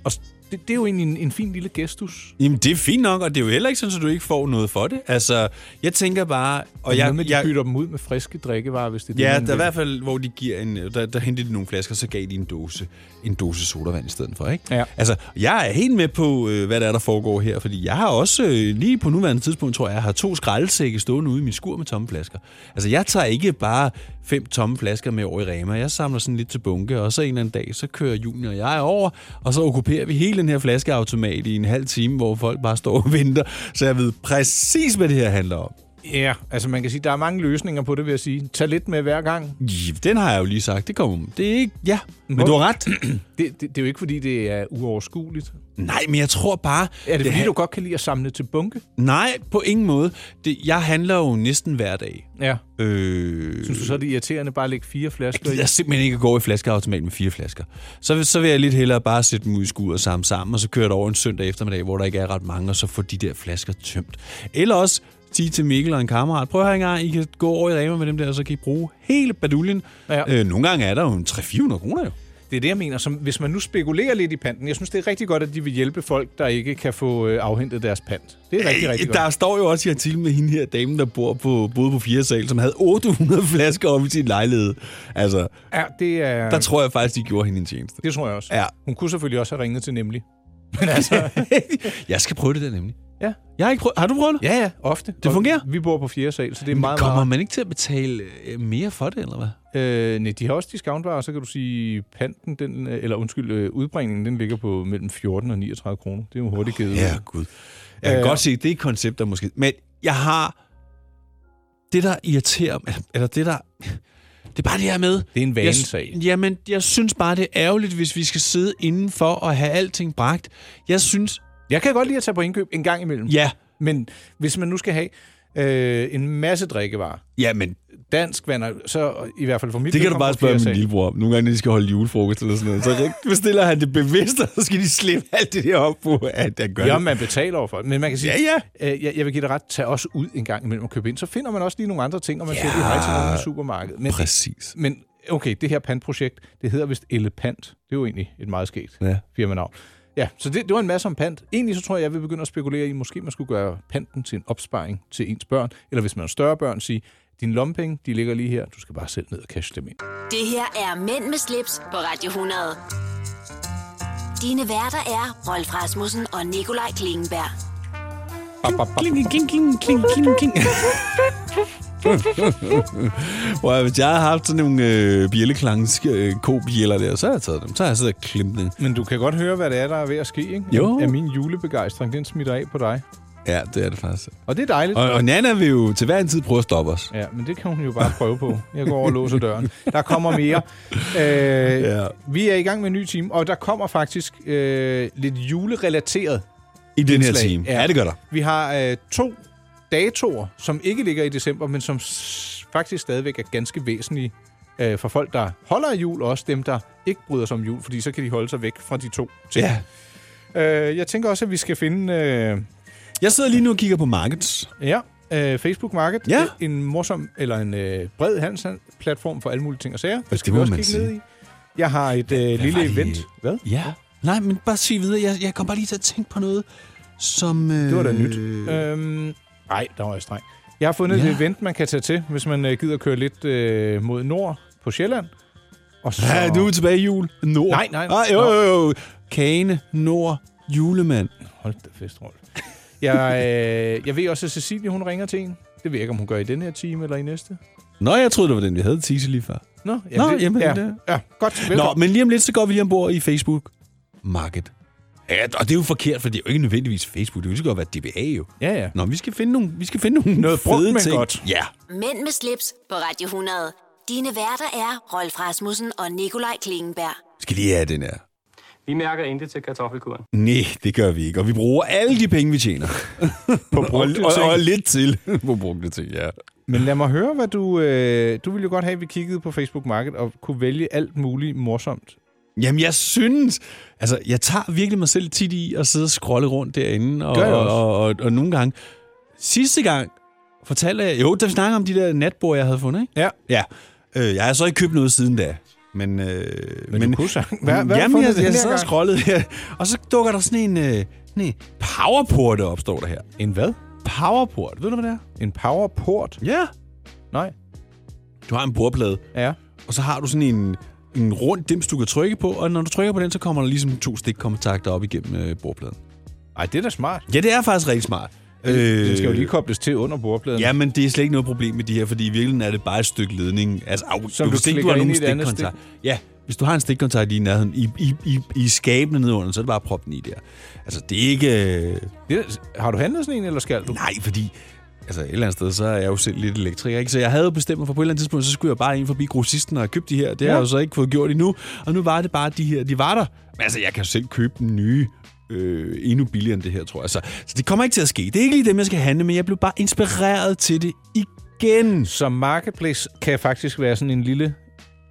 Speaker 2: og s- det, det er jo egentlig en, en fin lille gestus.
Speaker 3: Jamen, det er fint nok, og det er jo heller ikke sådan, at du ikke får noget for det. Altså, jeg tænker bare... Og
Speaker 2: Jeg,
Speaker 3: jeg,
Speaker 2: med, de
Speaker 3: jeg,
Speaker 2: bytter dem ud med friske drikkevarer, hvis det er øh,
Speaker 3: Ja,
Speaker 2: det, man
Speaker 3: der er i
Speaker 2: vil.
Speaker 3: hvert fald, hvor de giver en, øh, der, der hentede de nogle flasker, så gav de en dose, en dose sodavand i stedet for, ikke?
Speaker 2: Ja.
Speaker 3: Altså, jeg er helt med på, øh, hvad der er, der foregår her, fordi jeg har også, øh, lige på nuværende tidspunkt, tror jeg, jeg har to skraldesække stående ude i min skur med tomme flasker. Altså, jeg tager ikke bare fem tomme flasker med over i Rema. Jeg samler sådan lidt til bunke, og så en eller anden dag, så kører Junior og jeg over, og så okkuperer vi hele den her flaskeautomat i en halv time, hvor folk bare står og venter, så jeg ved præcis, hvad det her handler om.
Speaker 2: Ja, altså man kan sige, der er mange løsninger på det, vil jeg sige. Tag lidt med hver gang.
Speaker 3: Ja, Den har jeg jo lige sagt. Det kommer. Det er ikke... Ja, men
Speaker 2: Hvor-
Speaker 3: du har ret.
Speaker 2: Det, det, det er jo ikke, fordi det er uoverskueligt.
Speaker 3: Nej, men jeg tror bare...
Speaker 2: Er det, det fordi,
Speaker 3: ha-
Speaker 2: du godt kan lide at samle til bunke?
Speaker 3: Nej, på ingen måde. Det, jeg handler jo næsten hver dag.
Speaker 2: Ja.
Speaker 3: Øh,
Speaker 2: Synes du så, er det irriterende bare at lægge fire
Speaker 3: jeg
Speaker 2: flasker i?
Speaker 3: gider simpelthen ikke at gå i flaskeautomat med fire flasker. Så, vil- så vil jeg lidt hellere bare sætte dem ud i skud og samle sammen, og så køre det over en søndag eftermiddag, hvor der ikke er ret mange, og så få de der flasker tømt. Eller også sige til Mikkel og en kammerat, prøv her engang, I kan gå over i Rema med dem der, og så kan I bruge hele baduljen.
Speaker 2: Ja.
Speaker 3: Ja. Øh, nogle gange er der jo en 300-400 kroner jo.
Speaker 2: Det er det, jeg mener. Som, hvis man nu spekulerer lidt i panten, jeg synes, det er rigtig godt, at de vil hjælpe folk, der ikke kan få øh, afhentet deres pant. Det er rigtig, rigtig
Speaker 3: Øh, Der
Speaker 2: godt.
Speaker 3: står jo også i artiklen med hende her dame, der bor på, boede på 4. sal, som havde 800 flasker op i sin lejlighed. Altså,
Speaker 2: Ja, det, er,
Speaker 3: der tror jeg faktisk, de gjorde hende en tjeneste.
Speaker 2: det tror jeg også.
Speaker 3: Ja.
Speaker 2: Hun kunne selvfølgelig også have ringet til nemlig.
Speaker 3: jeg skal prøve det der nemlig.
Speaker 2: Ja.
Speaker 3: Jeg har, ikke prøvet, har du prøvet det?
Speaker 2: Ja, ja, ofte.
Speaker 3: Det
Speaker 2: Og
Speaker 3: fungerer?
Speaker 2: Vi bor på fjerde sal, så det er
Speaker 3: Men
Speaker 2: meget,
Speaker 3: kommer
Speaker 2: meget...
Speaker 3: man ikke til at betale øh, mere for det, eller hvad?
Speaker 2: Øh, nej, de har også discountvarer, så kan du sige, panten, den, øh, eller undskyld, øh, udbringningen, den ligger på mellem 14 og 39 kroner. Det er jo hurtigt givet. ud.
Speaker 3: gud. Jeg kan
Speaker 2: Øh,
Speaker 3: godt se, det er et koncept, der måske... Men jeg har... Det, der irriterer mig, eller det, der... Det er bare det her med...
Speaker 2: Det er en
Speaker 3: Jeg-
Speaker 2: vanesag.
Speaker 3: Jamen, jeg synes bare, det er ærgerligt, hvis vi skal sidde indenfor og have alting bragt. Jeg synes...
Speaker 2: Jeg kan godt lide at tage på indkøb en gang imellem.
Speaker 3: Ja,
Speaker 2: Men hvis man nu skal have øh, en masse drikkevarer,
Speaker 3: ja men
Speaker 2: dansk vander, så i hvert fald for mit
Speaker 3: det kan du
Speaker 2: vedkommende
Speaker 3: bare spørge
Speaker 2: fjerde
Speaker 3: min
Speaker 2: sal.
Speaker 3: lillebror om. Nogle gange, når de skal holde julefrokost eller sådan noget, så bestiller han det bevidst, og så skal de slippe alt det der op på, at jeg gør
Speaker 2: Ja,
Speaker 3: det.
Speaker 2: man betaler over for det. Men man kan sige,
Speaker 3: Ja,
Speaker 2: Øh, jeg, jeg vil give dig ret, tag også ud en gang imellem og købe ind. Så finder man også lige nogle andre ting, og man ja. siger, det hej til nogen i supermarkedet. Men,
Speaker 3: Præcis.
Speaker 2: men okay, det her pantprojekt, det hedder vist Elepant. Det er jo egentlig et meget skægt
Speaker 3: Ja.
Speaker 2: firmanavn. Ja, så det, det var en masse om pant. Egentlig så tror jeg, jeg vil begynde at spekulere i, måske man skulle gøre panten til en opsparing til ens børn, eller hvis man har større børn, sige, din lompenge, de ligger lige her, du skal bare selv ned og cashe dem ind.
Speaker 1: Det her er Mænd med slips på Radio 100. Dine værter er Rolf Rasmussen og Nikolaj Klingenberg.
Speaker 3: Kling, kling, kling, kling, kling, kling. Hvor jeg- hvis jeg har haft sådan nogle øh, bjælleklange, øh, kobjæller der, så har jeg taget dem. Så har jeg siddet og klemt dem.
Speaker 2: Men du kan godt høre, hvad det er, der er ved at ske, ikke?
Speaker 3: Jo.
Speaker 2: Er min julebegejstring, den smitter af på dig.
Speaker 3: Ja, det er det faktisk.
Speaker 2: Og det er dejligt.
Speaker 3: Og, og Nana vil jo til hver en tid prøve at stoppe os.
Speaker 2: Ja, men det kan hun jo bare prøve på. Jeg går over og låser døren. Der kommer mere. Øh, ja. Vi er i gang med en ny time, og der kommer faktisk øh, lidt julerelateret
Speaker 3: I den her
Speaker 2: indslag.
Speaker 3: time. Ja, det gør der.
Speaker 2: Vi har øh, to datoer, som ikke ligger i december, men som s- faktisk stadigvæk er ganske væsentlige øh, for folk, der holder af jul, og også dem, der ikke bryder sig om jul, fordi så kan de holde sig væk fra de to ting.
Speaker 3: Ja.
Speaker 2: Øh, jeg tænker også, at vi skal finde... Øh,
Speaker 3: jeg sidder lige nu og kigger på markets.
Speaker 2: Ja, øh, Facebook Market.
Speaker 3: Ja.
Speaker 2: En morsom, eller en øh, bred handelsplatform for alle mulige ting og sager.
Speaker 3: det
Speaker 2: Det skal vi
Speaker 3: må
Speaker 2: også
Speaker 3: man
Speaker 2: kigge
Speaker 3: sige.
Speaker 2: ned i. Jeg har et øh, lille
Speaker 3: var det?
Speaker 2: event. Hvad?
Speaker 3: Ja. Nej, men bare sig videre. Jeg, jeg kom bare lige til at tænke på noget, som... Øh...
Speaker 2: Det var da nyt. Øhm, nej, der var jeg streng. Jeg har fundet ja.
Speaker 3: Ja.
Speaker 2: et event, man kan tage til, hvis man øh, gider køre lidt øh, mod nord på Sjælland. Og så...
Speaker 3: Ja, du er tilbage i jul. Nord.
Speaker 2: Nej, nej.
Speaker 3: Ah, jo, jo, jo. Kane, Nord, julemand.
Speaker 2: Hold da fest, Rolf. Jeg, øh, jeg ved også, at Cecilie hun ringer til en. Det ved jeg ikke, om hun gør i den her time eller i næste.
Speaker 3: Nå, jeg troede, det var den, vi havde tisse lige før.
Speaker 2: Nå,
Speaker 3: Nå, jamen,
Speaker 2: ja,
Speaker 3: det-
Speaker 2: ja, godt.
Speaker 3: Nå,
Speaker 2: Velkommen.
Speaker 3: men lige om lidt, så går vi lige ombord i Facebook Market. Ja, og det er jo forkert, for det er jo ikke nødvendigvis Facebook. Det kan jo lige så godt være DBA jo.
Speaker 2: Ja, ja.
Speaker 3: Nå, vi skal finde nogle, vi skal finde nogle
Speaker 2: Noget
Speaker 3: fede
Speaker 2: brugt, men
Speaker 3: ting.
Speaker 2: godt.
Speaker 3: Ja.
Speaker 1: Mænd med slips på Radio 100. Dine værter er Rolf Rasmussen og Nikolaj Klingenberg.
Speaker 3: Skal lige have den her.
Speaker 4: Vi mærker intet til kartoffelkuren.
Speaker 3: Nej, det gør vi ikke. Og vi bruger alle de penge, vi tjener. på
Speaker 2: brugte
Speaker 3: og, og,
Speaker 2: ting.
Speaker 3: og, lidt til på brugte ting, ja.
Speaker 2: Men lad mig høre, hvad du... Øh, du ville jo godt have, at vi kiggede på Facebook Market og kunne vælge alt muligt morsomt.
Speaker 3: Jamen, jeg synes... Altså, jeg tager virkelig mig selv tit i at sidde og scrolle rundt derinde. Og,
Speaker 2: Gør jeg
Speaker 3: og,
Speaker 2: også.
Speaker 3: og, og, og, nogle gange... Sidste gang fortalte jeg... Jo, da vi snakkede om de der natbord, jeg havde fundet, ikke?
Speaker 2: Ja.
Speaker 3: Ja. Øh, jeg har så ikke købt noget siden da. Men, øh,
Speaker 2: Men, men du kunne sang. Hvad, hvad har du
Speaker 3: Jamen,
Speaker 2: fundet
Speaker 3: jeg,
Speaker 2: den
Speaker 3: jeg
Speaker 2: her
Speaker 3: sad og
Speaker 2: gang?
Speaker 3: scrollede her, og så dukker der sådan en, øh, sådan en powerport op, står der her.
Speaker 2: En hvad?
Speaker 3: Powerport, ved du, hvad det er?
Speaker 2: En powerport?
Speaker 3: Ja.
Speaker 2: Nej.
Speaker 3: Du har en bordplade,
Speaker 2: Ja.
Speaker 3: og så har du sådan en, en rund dims, du kan trykke på, og når du trykker på den, så kommer der ligesom to stikkontakter op igennem øh, bordpladen.
Speaker 2: Ej, det er da smart.
Speaker 3: Ja, det er faktisk rigtig smart. Øh,
Speaker 2: Den skal jo lige kobles til under bordpladen.
Speaker 3: Ja, men det er slet ikke noget problem med de her, fordi i virkeligheden er det bare et stykke ledning. Altså, au,
Speaker 2: Som du
Speaker 3: hvis ikke
Speaker 2: klikker
Speaker 3: har
Speaker 2: ind
Speaker 3: nogen
Speaker 2: i et andet
Speaker 3: stikkontakt- Ja, hvis du har en stikkontakt i nærheden, i, i, i, i skabene nedenunder, så er det bare at proppe den i der. Altså, det er ikke... Øh,
Speaker 2: Det, har du handlet sådan en, eller skal du?
Speaker 3: nej, fordi... Altså, et eller andet sted, så er jeg jo selv lidt elektriker, ikke? Så jeg havde jo bestemt mig for, på et eller andet tidspunkt, så skulle jeg bare ind forbi grossisten og købe de her. Det har
Speaker 2: Ja.
Speaker 3: jeg jo så ikke fået gjort endnu. Og nu var det bare, at de her, de var der. Men altså, jeg kan jo selv købe den nye øh, endnu billigere end det her, tror jeg. Så, så det kommer ikke til at ske. Det er ikke lige dem, jeg skal handle, men jeg blev bare inspireret til det igen.
Speaker 2: Så Marketplace kan faktisk være sådan en lille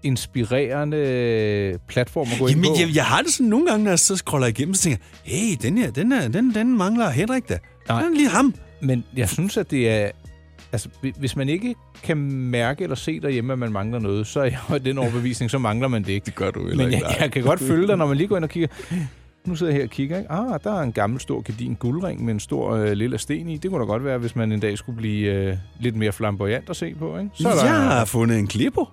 Speaker 2: inspirerende øh, platform at gå ind på.
Speaker 3: Jamen, jeg, jeg har det sådan nogle gange, når jeg så scroller igennem, så tænker jeg, hey, den her, den, her, den, den mangler Henrik da.
Speaker 2: Nej.
Speaker 3: Nej. Den er lige ham.
Speaker 2: Men jeg synes, at det er... Altså, hvi- hvis man ikke kan mærke eller se derhjemme, at man mangler noget, så er jeg af den overbevisning, så mangler man det ikke.
Speaker 3: Det gør du
Speaker 2: Men jeg, jeg kan godt følge dig, når man lige går ind og kigger. Nu sidder jeg her og kigger, ikke? Ah, der er en gammel, stor, gedin guldring med en stor øh, lille sten i. Det kunne da godt være, hvis man en dag skulle blive øh, lidt mere flamboyant at se på, ikke?
Speaker 3: Så
Speaker 2: er der...
Speaker 3: jeg har fundet en klippo.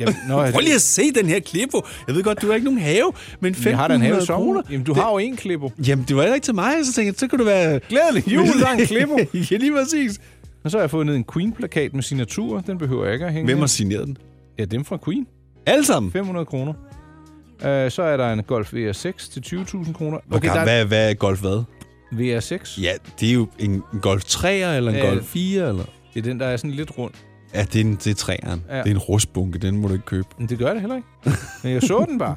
Speaker 2: Jamen, nå,
Speaker 3: Prøv lige at se den her klippo. Jeg ved godt, du har ikke nogen have, men
Speaker 2: jeg har da en have
Speaker 3: 1500
Speaker 2: kroner.
Speaker 3: kroner.
Speaker 2: Jamen, du har jo en klippo.
Speaker 3: Jamen, det var heller ikke til mig, så tænkte jeg, så kunne du være...
Speaker 2: Glædelig jul, der er en klippo.
Speaker 3: ja, lige præcis.
Speaker 2: Og så har jeg fundet en Queen-plakat med signaturer. Den behøver jeg ikke at hænge.
Speaker 3: Hvem har
Speaker 2: af.
Speaker 3: signeret den?
Speaker 2: Ja, dem fra Queen.
Speaker 3: Alle sammen.
Speaker 2: 500 kroner. Uh, så er der en Golf VR6 til 20.000 kroner.
Speaker 3: Okay,
Speaker 2: der er
Speaker 3: hvad, hvad er golf hvad?
Speaker 2: VR6.
Speaker 3: Ja, det er jo en en golf 3'er eller en
Speaker 2: Ja.
Speaker 3: golf 4 eller...
Speaker 2: Det er den, der er sådan lidt rund.
Speaker 3: Ja, det er, en, det er træeren.
Speaker 2: Ja.
Speaker 3: Ja. Det er en rustbunke, den må du ikke købe.
Speaker 2: Men det gør det heller ikke. Men jeg så den bare.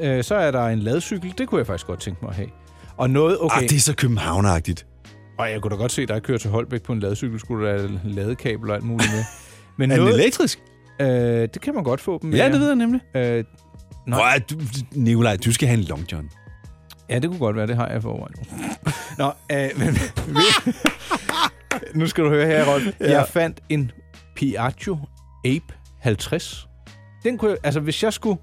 Speaker 2: Øh, så er der en ladcykel. Det kunne jeg faktisk godt tænke mig at have. Og noget, okay.
Speaker 3: Okay. Ah, det er så københavnagtigt.
Speaker 2: Og jeg kunne da godt se dig køre til Holbæk på en ladcykel, skulle der være ladekabel og alt muligt med. Men
Speaker 3: Er den
Speaker 2: noget,
Speaker 3: elektrisk?
Speaker 2: øh, det kan man godt få dem med.
Speaker 3: Ja, det ved jeg nemlig.
Speaker 2: Øh, Nej.
Speaker 3: Prøv, at- du, Nikolaj, du skal have en long john.
Speaker 2: ja, det kunne godt være. Det har jeg forvejen. Nå, øh, men... nu skal du høre her, Rolf. Ja. Jeg fandt en Piaggio Ape 50. Den kunne jeg, altså, hvis jeg skulle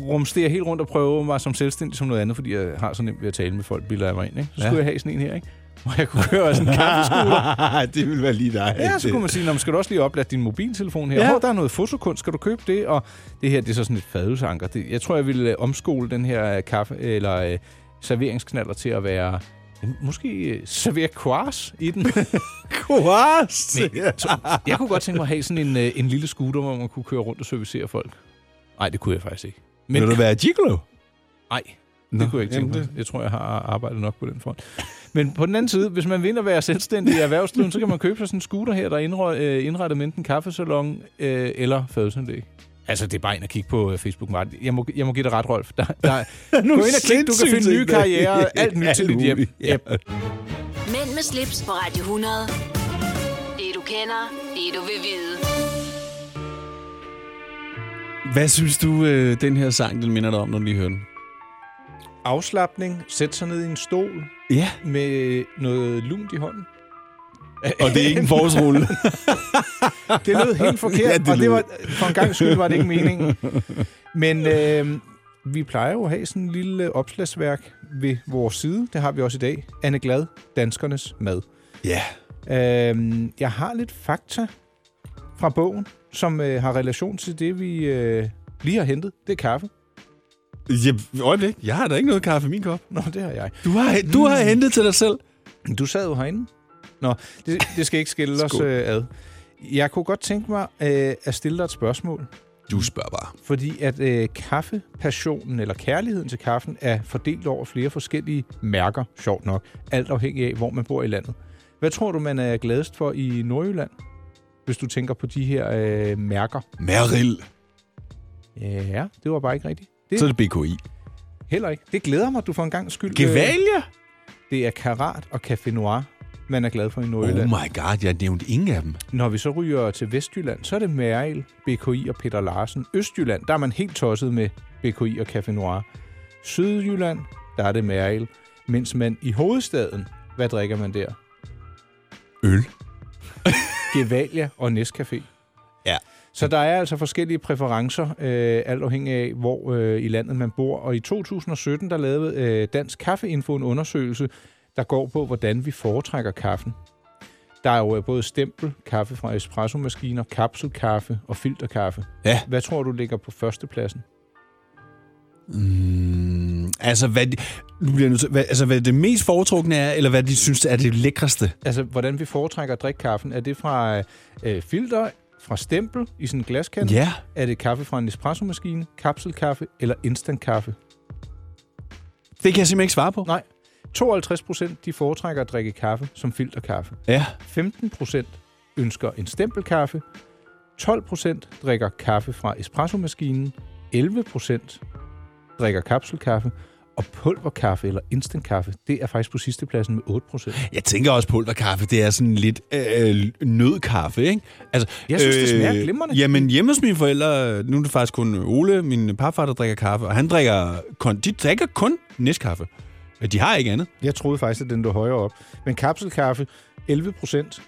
Speaker 2: rumstere helt rundt og prøve mig som selvstændig som noget andet, fordi jeg har så nemt ved at tale med folk, bilder jeg mig ind. Ikke? Så skulle
Speaker 3: Ja.
Speaker 2: jeg have sådan en her, ikke? Hvor jeg kunne køre sådan en kaffeskuter.
Speaker 3: det ville være lige dig.
Speaker 2: Ja, så kunne man sige, "Nå, men skal du også lige oplade din mobiltelefon her?
Speaker 3: øh, Ja.
Speaker 2: Ja. Hov, der er noget fotokunst, skal du købe det? Og det her, det er så sådan et fadelsanker. Det, jeg tror, jeg ville øh, omskole den her øh, kaffe, eller øh, serveringsknaller til at være jamen, måske øh, servere quars i den.
Speaker 3: quars?
Speaker 2: jeg kunne godt tænke mig at have sådan en, øh, en lille scooter, hvor man kunne køre rundt og servicere folk. Nej, det kunne jeg faktisk ikke.
Speaker 3: Men... Vil du være gigolo?
Speaker 2: Nej,
Speaker 3: Nå,
Speaker 2: det kunne jeg ikke tænke
Speaker 3: jamen
Speaker 2: mig. Jeg tror, jeg har arbejdet nok på den front. Men på den anden side, hvis man vil ind og være selvstændig i erhvervsdriven, så kan man købe sig sådan en scooter her, der er indre- øh, indrettet med enten kaffesalon øh, eller fadelsanlæg. Altså, det er bare ind at kigge på øh, Facebook Market. Jeg må, jeg må give dig ret, Rolf. Der, der, gå ind og kig, du kan finde nye karrierer, alt nyt til dit hjem.
Speaker 3: Ja.
Speaker 1: Mænd med slips på Radio 100. Det du kender, det du vil vide.
Speaker 3: Hvad synes du, øh, den her sang, den minder dig om, når du lige hører den?
Speaker 2: Afslappning, sætte sig ned i en stol
Speaker 3: Ja.
Speaker 2: med noget lunt i hånden.
Speaker 3: Og det er ikke en forårsrulle.
Speaker 2: Det lød helt forkert,
Speaker 3: Ja,
Speaker 2: ja,
Speaker 3: det
Speaker 2: det og
Speaker 3: lød.
Speaker 2: det var, for en gang skyld var det ikke meningen. Men øh, vi plejer jo at have sådan en lille opslagsværk ved vores side. Det har vi også i dag. Anne Glad, Danskernes Mad.
Speaker 3: Ja.
Speaker 2: Øh, jeg har lidt fakta fra bogen, som øh, har relation til det, vi øh, lige har hentet. Det er kaffe.
Speaker 3: Ja, øjeblik. Jeg har da ikke noget kaffe i min kop. Mm.
Speaker 2: Nå, det har jeg.
Speaker 3: Du har, du har hentet til dig selv.
Speaker 2: Du sad jo herinde. Nå, det, det skal ikke skille os
Speaker 3: Skål.
Speaker 2: øh, ad. Jeg kunne godt tænke mig øh, at stille dig et spørgsmål.
Speaker 3: Du spørger bare.
Speaker 2: Fordi at øh, kaffepassionen eller kærligheden til kaffen er fordelt over flere forskellige mærker, sjovt nok, alt afhængig af, hvor man bor i landet. Hvad tror du, man er gladest for i Nordjylland, hvis du tænker på de her øh, mærker?
Speaker 3: Meril.
Speaker 2: Ja, det var bare ikke rigtigt. Det
Speaker 3: Så
Speaker 2: er
Speaker 3: er det BKI.
Speaker 2: heller ikke. Det glæder mig, at du for en gang skyld... øh,
Speaker 3: Gevalia?
Speaker 2: Det er Karat og Café Noir, man er glad for i
Speaker 3: Oh
Speaker 2: Nordjylland.
Speaker 3: my god, jeg nævnte ingen af dem.
Speaker 2: Når vi så ryger til Vestjylland, så er det Mærel, BKI og Peter Larsen. Østjylland, der er man helt tosset med BKI og Café Noir. Sydjylland, der er det Mærel. Mens man i hovedstaden, hvad drikker man der?
Speaker 3: Øl.
Speaker 2: Gevalia og Nescafé.
Speaker 3: Ja.
Speaker 2: Så der er altså forskellige præferencer, øh, alt afhængig af, hvor øh, i landet man bor. Og i 2017, der lavede øh, Dansk Kaffeinfo en undersøgelse, der går på, hvordan vi foretrækker kaffen. Der er jo øh, både stempel, kaffe fra espressomaskiner, kapselkaffe og filterkaffe.
Speaker 3: Ja.
Speaker 2: Hvad tror du ligger på førstepladsen?
Speaker 3: Mm, altså, hvad, de- nu bliver jeg nødt til, hvad, altså, hvad det mest foretrukne er, eller hvad de synes er det lækreste?
Speaker 2: Altså, hvordan vi foretrækker at drikke kaffen. Er det fra øh, øh, filter, fra stempel i sådan en glaskande?
Speaker 3: Ja.
Speaker 2: Er det kaffe fra en espressomaskine, kapselkaffe eller instantkaffe?
Speaker 3: Det kan jeg simpelthen ikke svare på.
Speaker 2: Nej. 52 procent de foretrækker at drikke kaffe som filterkaffe.
Speaker 3: Ja.
Speaker 2: 15 procent ønsker en stempelkaffe. 12 procent drikker kaffe fra espressomaskinen. 11 procent drikker kapselkaffe. Og pulverkaffe eller instantkaffe, det er faktisk på sidste pladsen med 8 procent.
Speaker 3: Jeg tænker også, pulverkaffe, det er sådan lidt øh, nødkaffe, ikke? Altså,
Speaker 2: Jeg synes, det smager glimrende.
Speaker 3: Jamen, hjemme hos mine forældre, nu er det faktisk kun Ole, min parfar, der drikker kaffe, og han drikker kun, de drikker kun næstkaffe. De har ikke andet.
Speaker 2: Jeg troede faktisk, at den lå højere op. Men kapselkaffe, 11 procent.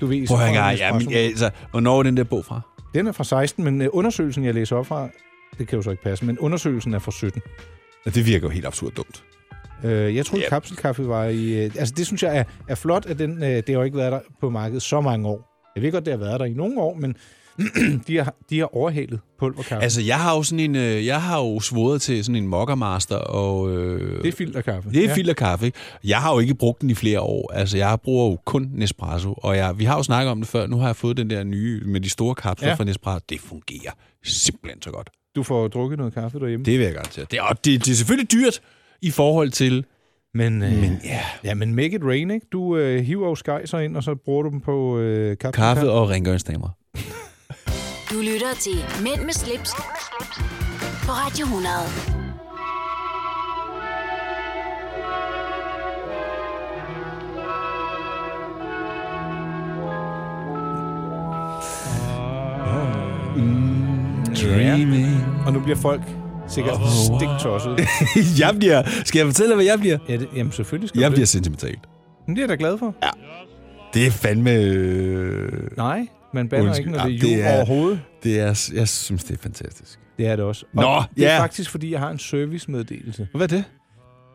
Speaker 2: Du ved,
Speaker 3: Prøv at høre,
Speaker 2: fra
Speaker 3: engang,
Speaker 2: en
Speaker 3: ja, men,
Speaker 2: espresso.
Speaker 3: ja, altså, hvornår er den der bog fra?
Speaker 2: Den er fra 16, men øh, undersøgelsen, jeg læser op fra, det kan jo så ikke passe, men undersøgelsen er fra 17.
Speaker 3: Ja, det virker jo helt absurd dumt.
Speaker 2: Øh, jeg troede,
Speaker 3: Ja.
Speaker 2: yep. kapselkaffe var i... Øh, altså, det synes jeg er, er flot, at den, øh, det har jo ikke været der på markedet så mange år. Jeg ved godt, det har været der i nogle år, men de, har, de har overhalet pulverkaffe.
Speaker 3: Altså,
Speaker 2: Altså,
Speaker 3: jeg har jo sådan en, øh, jeg har jo svoret til sådan en mokkermaster, og... Øh,
Speaker 2: det er filterkaffe.
Speaker 3: Det er ja. filterkaffe, ikke? Jeg har jo ikke brugt den i flere år. Altså, jeg bruger jo kun Nespresso, og jeg, vi har jo snakket om det før. Nu har jeg fået den der nye med de store kapsler ja.
Speaker 2: Ja.
Speaker 3: fra Nespresso. Det fungerer simpelthen så godt.
Speaker 2: Du får drukket noget kaffe derhjemme. Det.
Speaker 3: Det vil jeg garantere. Det er, og det, det er selvfølgelig dyrt i forhold til...
Speaker 2: Men, øh, men,
Speaker 3: ja.
Speaker 2: ja, men make it rain, ikke? Du øh, hiver jo skejser ind, og så bruger du dem på øh, kapselkaffe.
Speaker 3: Kaffe og rengøringsdamer.
Speaker 1: Du lytter til Mænd med slips, på Radio 100.
Speaker 3: Dreaming.
Speaker 2: Og nu bliver folk sikkert oh,
Speaker 3: wow.
Speaker 2: wow. stiktosset.
Speaker 3: jeg bliver... Skal jeg fortælle dig, hvad jeg bliver?
Speaker 2: ja, det, jamen, selvfølgelig skal
Speaker 3: Jeg
Speaker 2: du
Speaker 3: bliver
Speaker 2: det.
Speaker 3: sentimental.
Speaker 2: Men det er jeg da glad for. Ja.
Speaker 3: Det er fandme... øh,
Speaker 2: Nej, man bander
Speaker 3: Undskyld.
Speaker 2: ikke, når det
Speaker 3: Ja,
Speaker 2: er jul
Speaker 3: det er-
Speaker 2: overhovedet.
Speaker 3: Det er, jeg synes, det er fantastisk.
Speaker 2: Det er det også.
Speaker 3: Nå,
Speaker 2: det er
Speaker 3: ja.
Speaker 2: faktisk, fordi jeg har en servicemeddelelse. Hvad er det?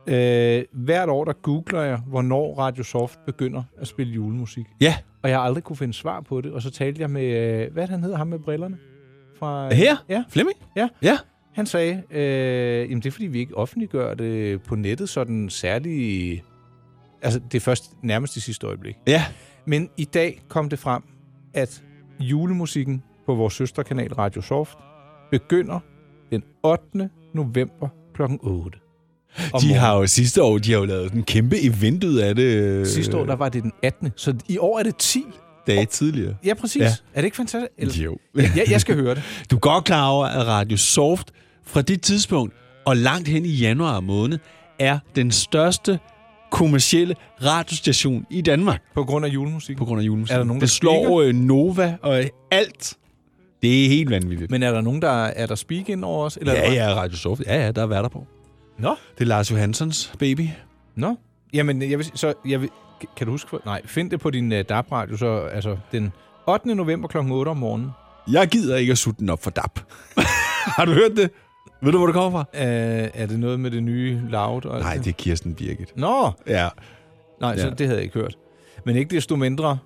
Speaker 2: Øh, hvert år, der googler jeg, hvornår Radio Soft begynder at spille julemusik.
Speaker 3: Ja.
Speaker 2: Og jeg har aldrig kunne finde svar på det. Og så talte jeg med, øh, hvad er det, han hedder, ham med brillerne? Fra,
Speaker 3: Her?
Speaker 2: Ja.
Speaker 3: Flemming?
Speaker 2: Ja.
Speaker 3: ja.
Speaker 2: Han sagde, øh, jamen det er, fordi vi ikke offentliggør det på nettet sådan særlig... Altså, det er først nærmest i sidste øjeblik.
Speaker 3: Ja.
Speaker 2: Men i dag kom det frem, at julemusikken på vores søsterkanal Radio Soft begynder den 8. november kl. 8.
Speaker 3: De har jo sidste år, de har jo lavet en kæmpe event ud af det. øh,
Speaker 2: Sidste år, der var det den 18. Så i år er det 10
Speaker 3: Dage tidligere.
Speaker 2: Ja, præcis.
Speaker 3: Ja.
Speaker 2: Ja. Er det ikke fantastisk?
Speaker 3: Jo.
Speaker 2: Ja, jeg, jeg skal høre det.
Speaker 3: Du er godt klar over, at Radio Soft fra det tidspunkt og langt hen i januar måned er den største kommercielle radiostation i Danmark.
Speaker 2: På grund af julemusik.
Speaker 3: På grund af julemusik.
Speaker 2: Er der nogen,
Speaker 3: det
Speaker 2: der
Speaker 3: slår øh, Nova og alt. Det er helt vanvittigt.
Speaker 2: Men er der nogen, der er der speak ind over os? Eller er
Speaker 3: ja,
Speaker 2: det
Speaker 3: ja, Radio Soft. Ja, ja, der er værter på.
Speaker 2: Nå.
Speaker 3: Det er Lars Johanssons baby.
Speaker 2: Nå. Jamen, jeg vil, så, jeg vil, kan du huske? hvor- Nej, find det på din uh, DAB-radio, så altså den 8. november kl. 8 om morgenen.
Speaker 3: Jeg gider ikke at sutte den op for dap. Har du hørt det? Ved du, hvor det kommer fra?
Speaker 2: Uh, er det noget med det nye loud? Og alt
Speaker 3: Nej, det er Kirsten Birgit.
Speaker 2: Nå!
Speaker 3: Ja.
Speaker 2: Nej, så
Speaker 3: Ja.
Speaker 2: det havde jeg ikke hørt. Men ikke desto mindre.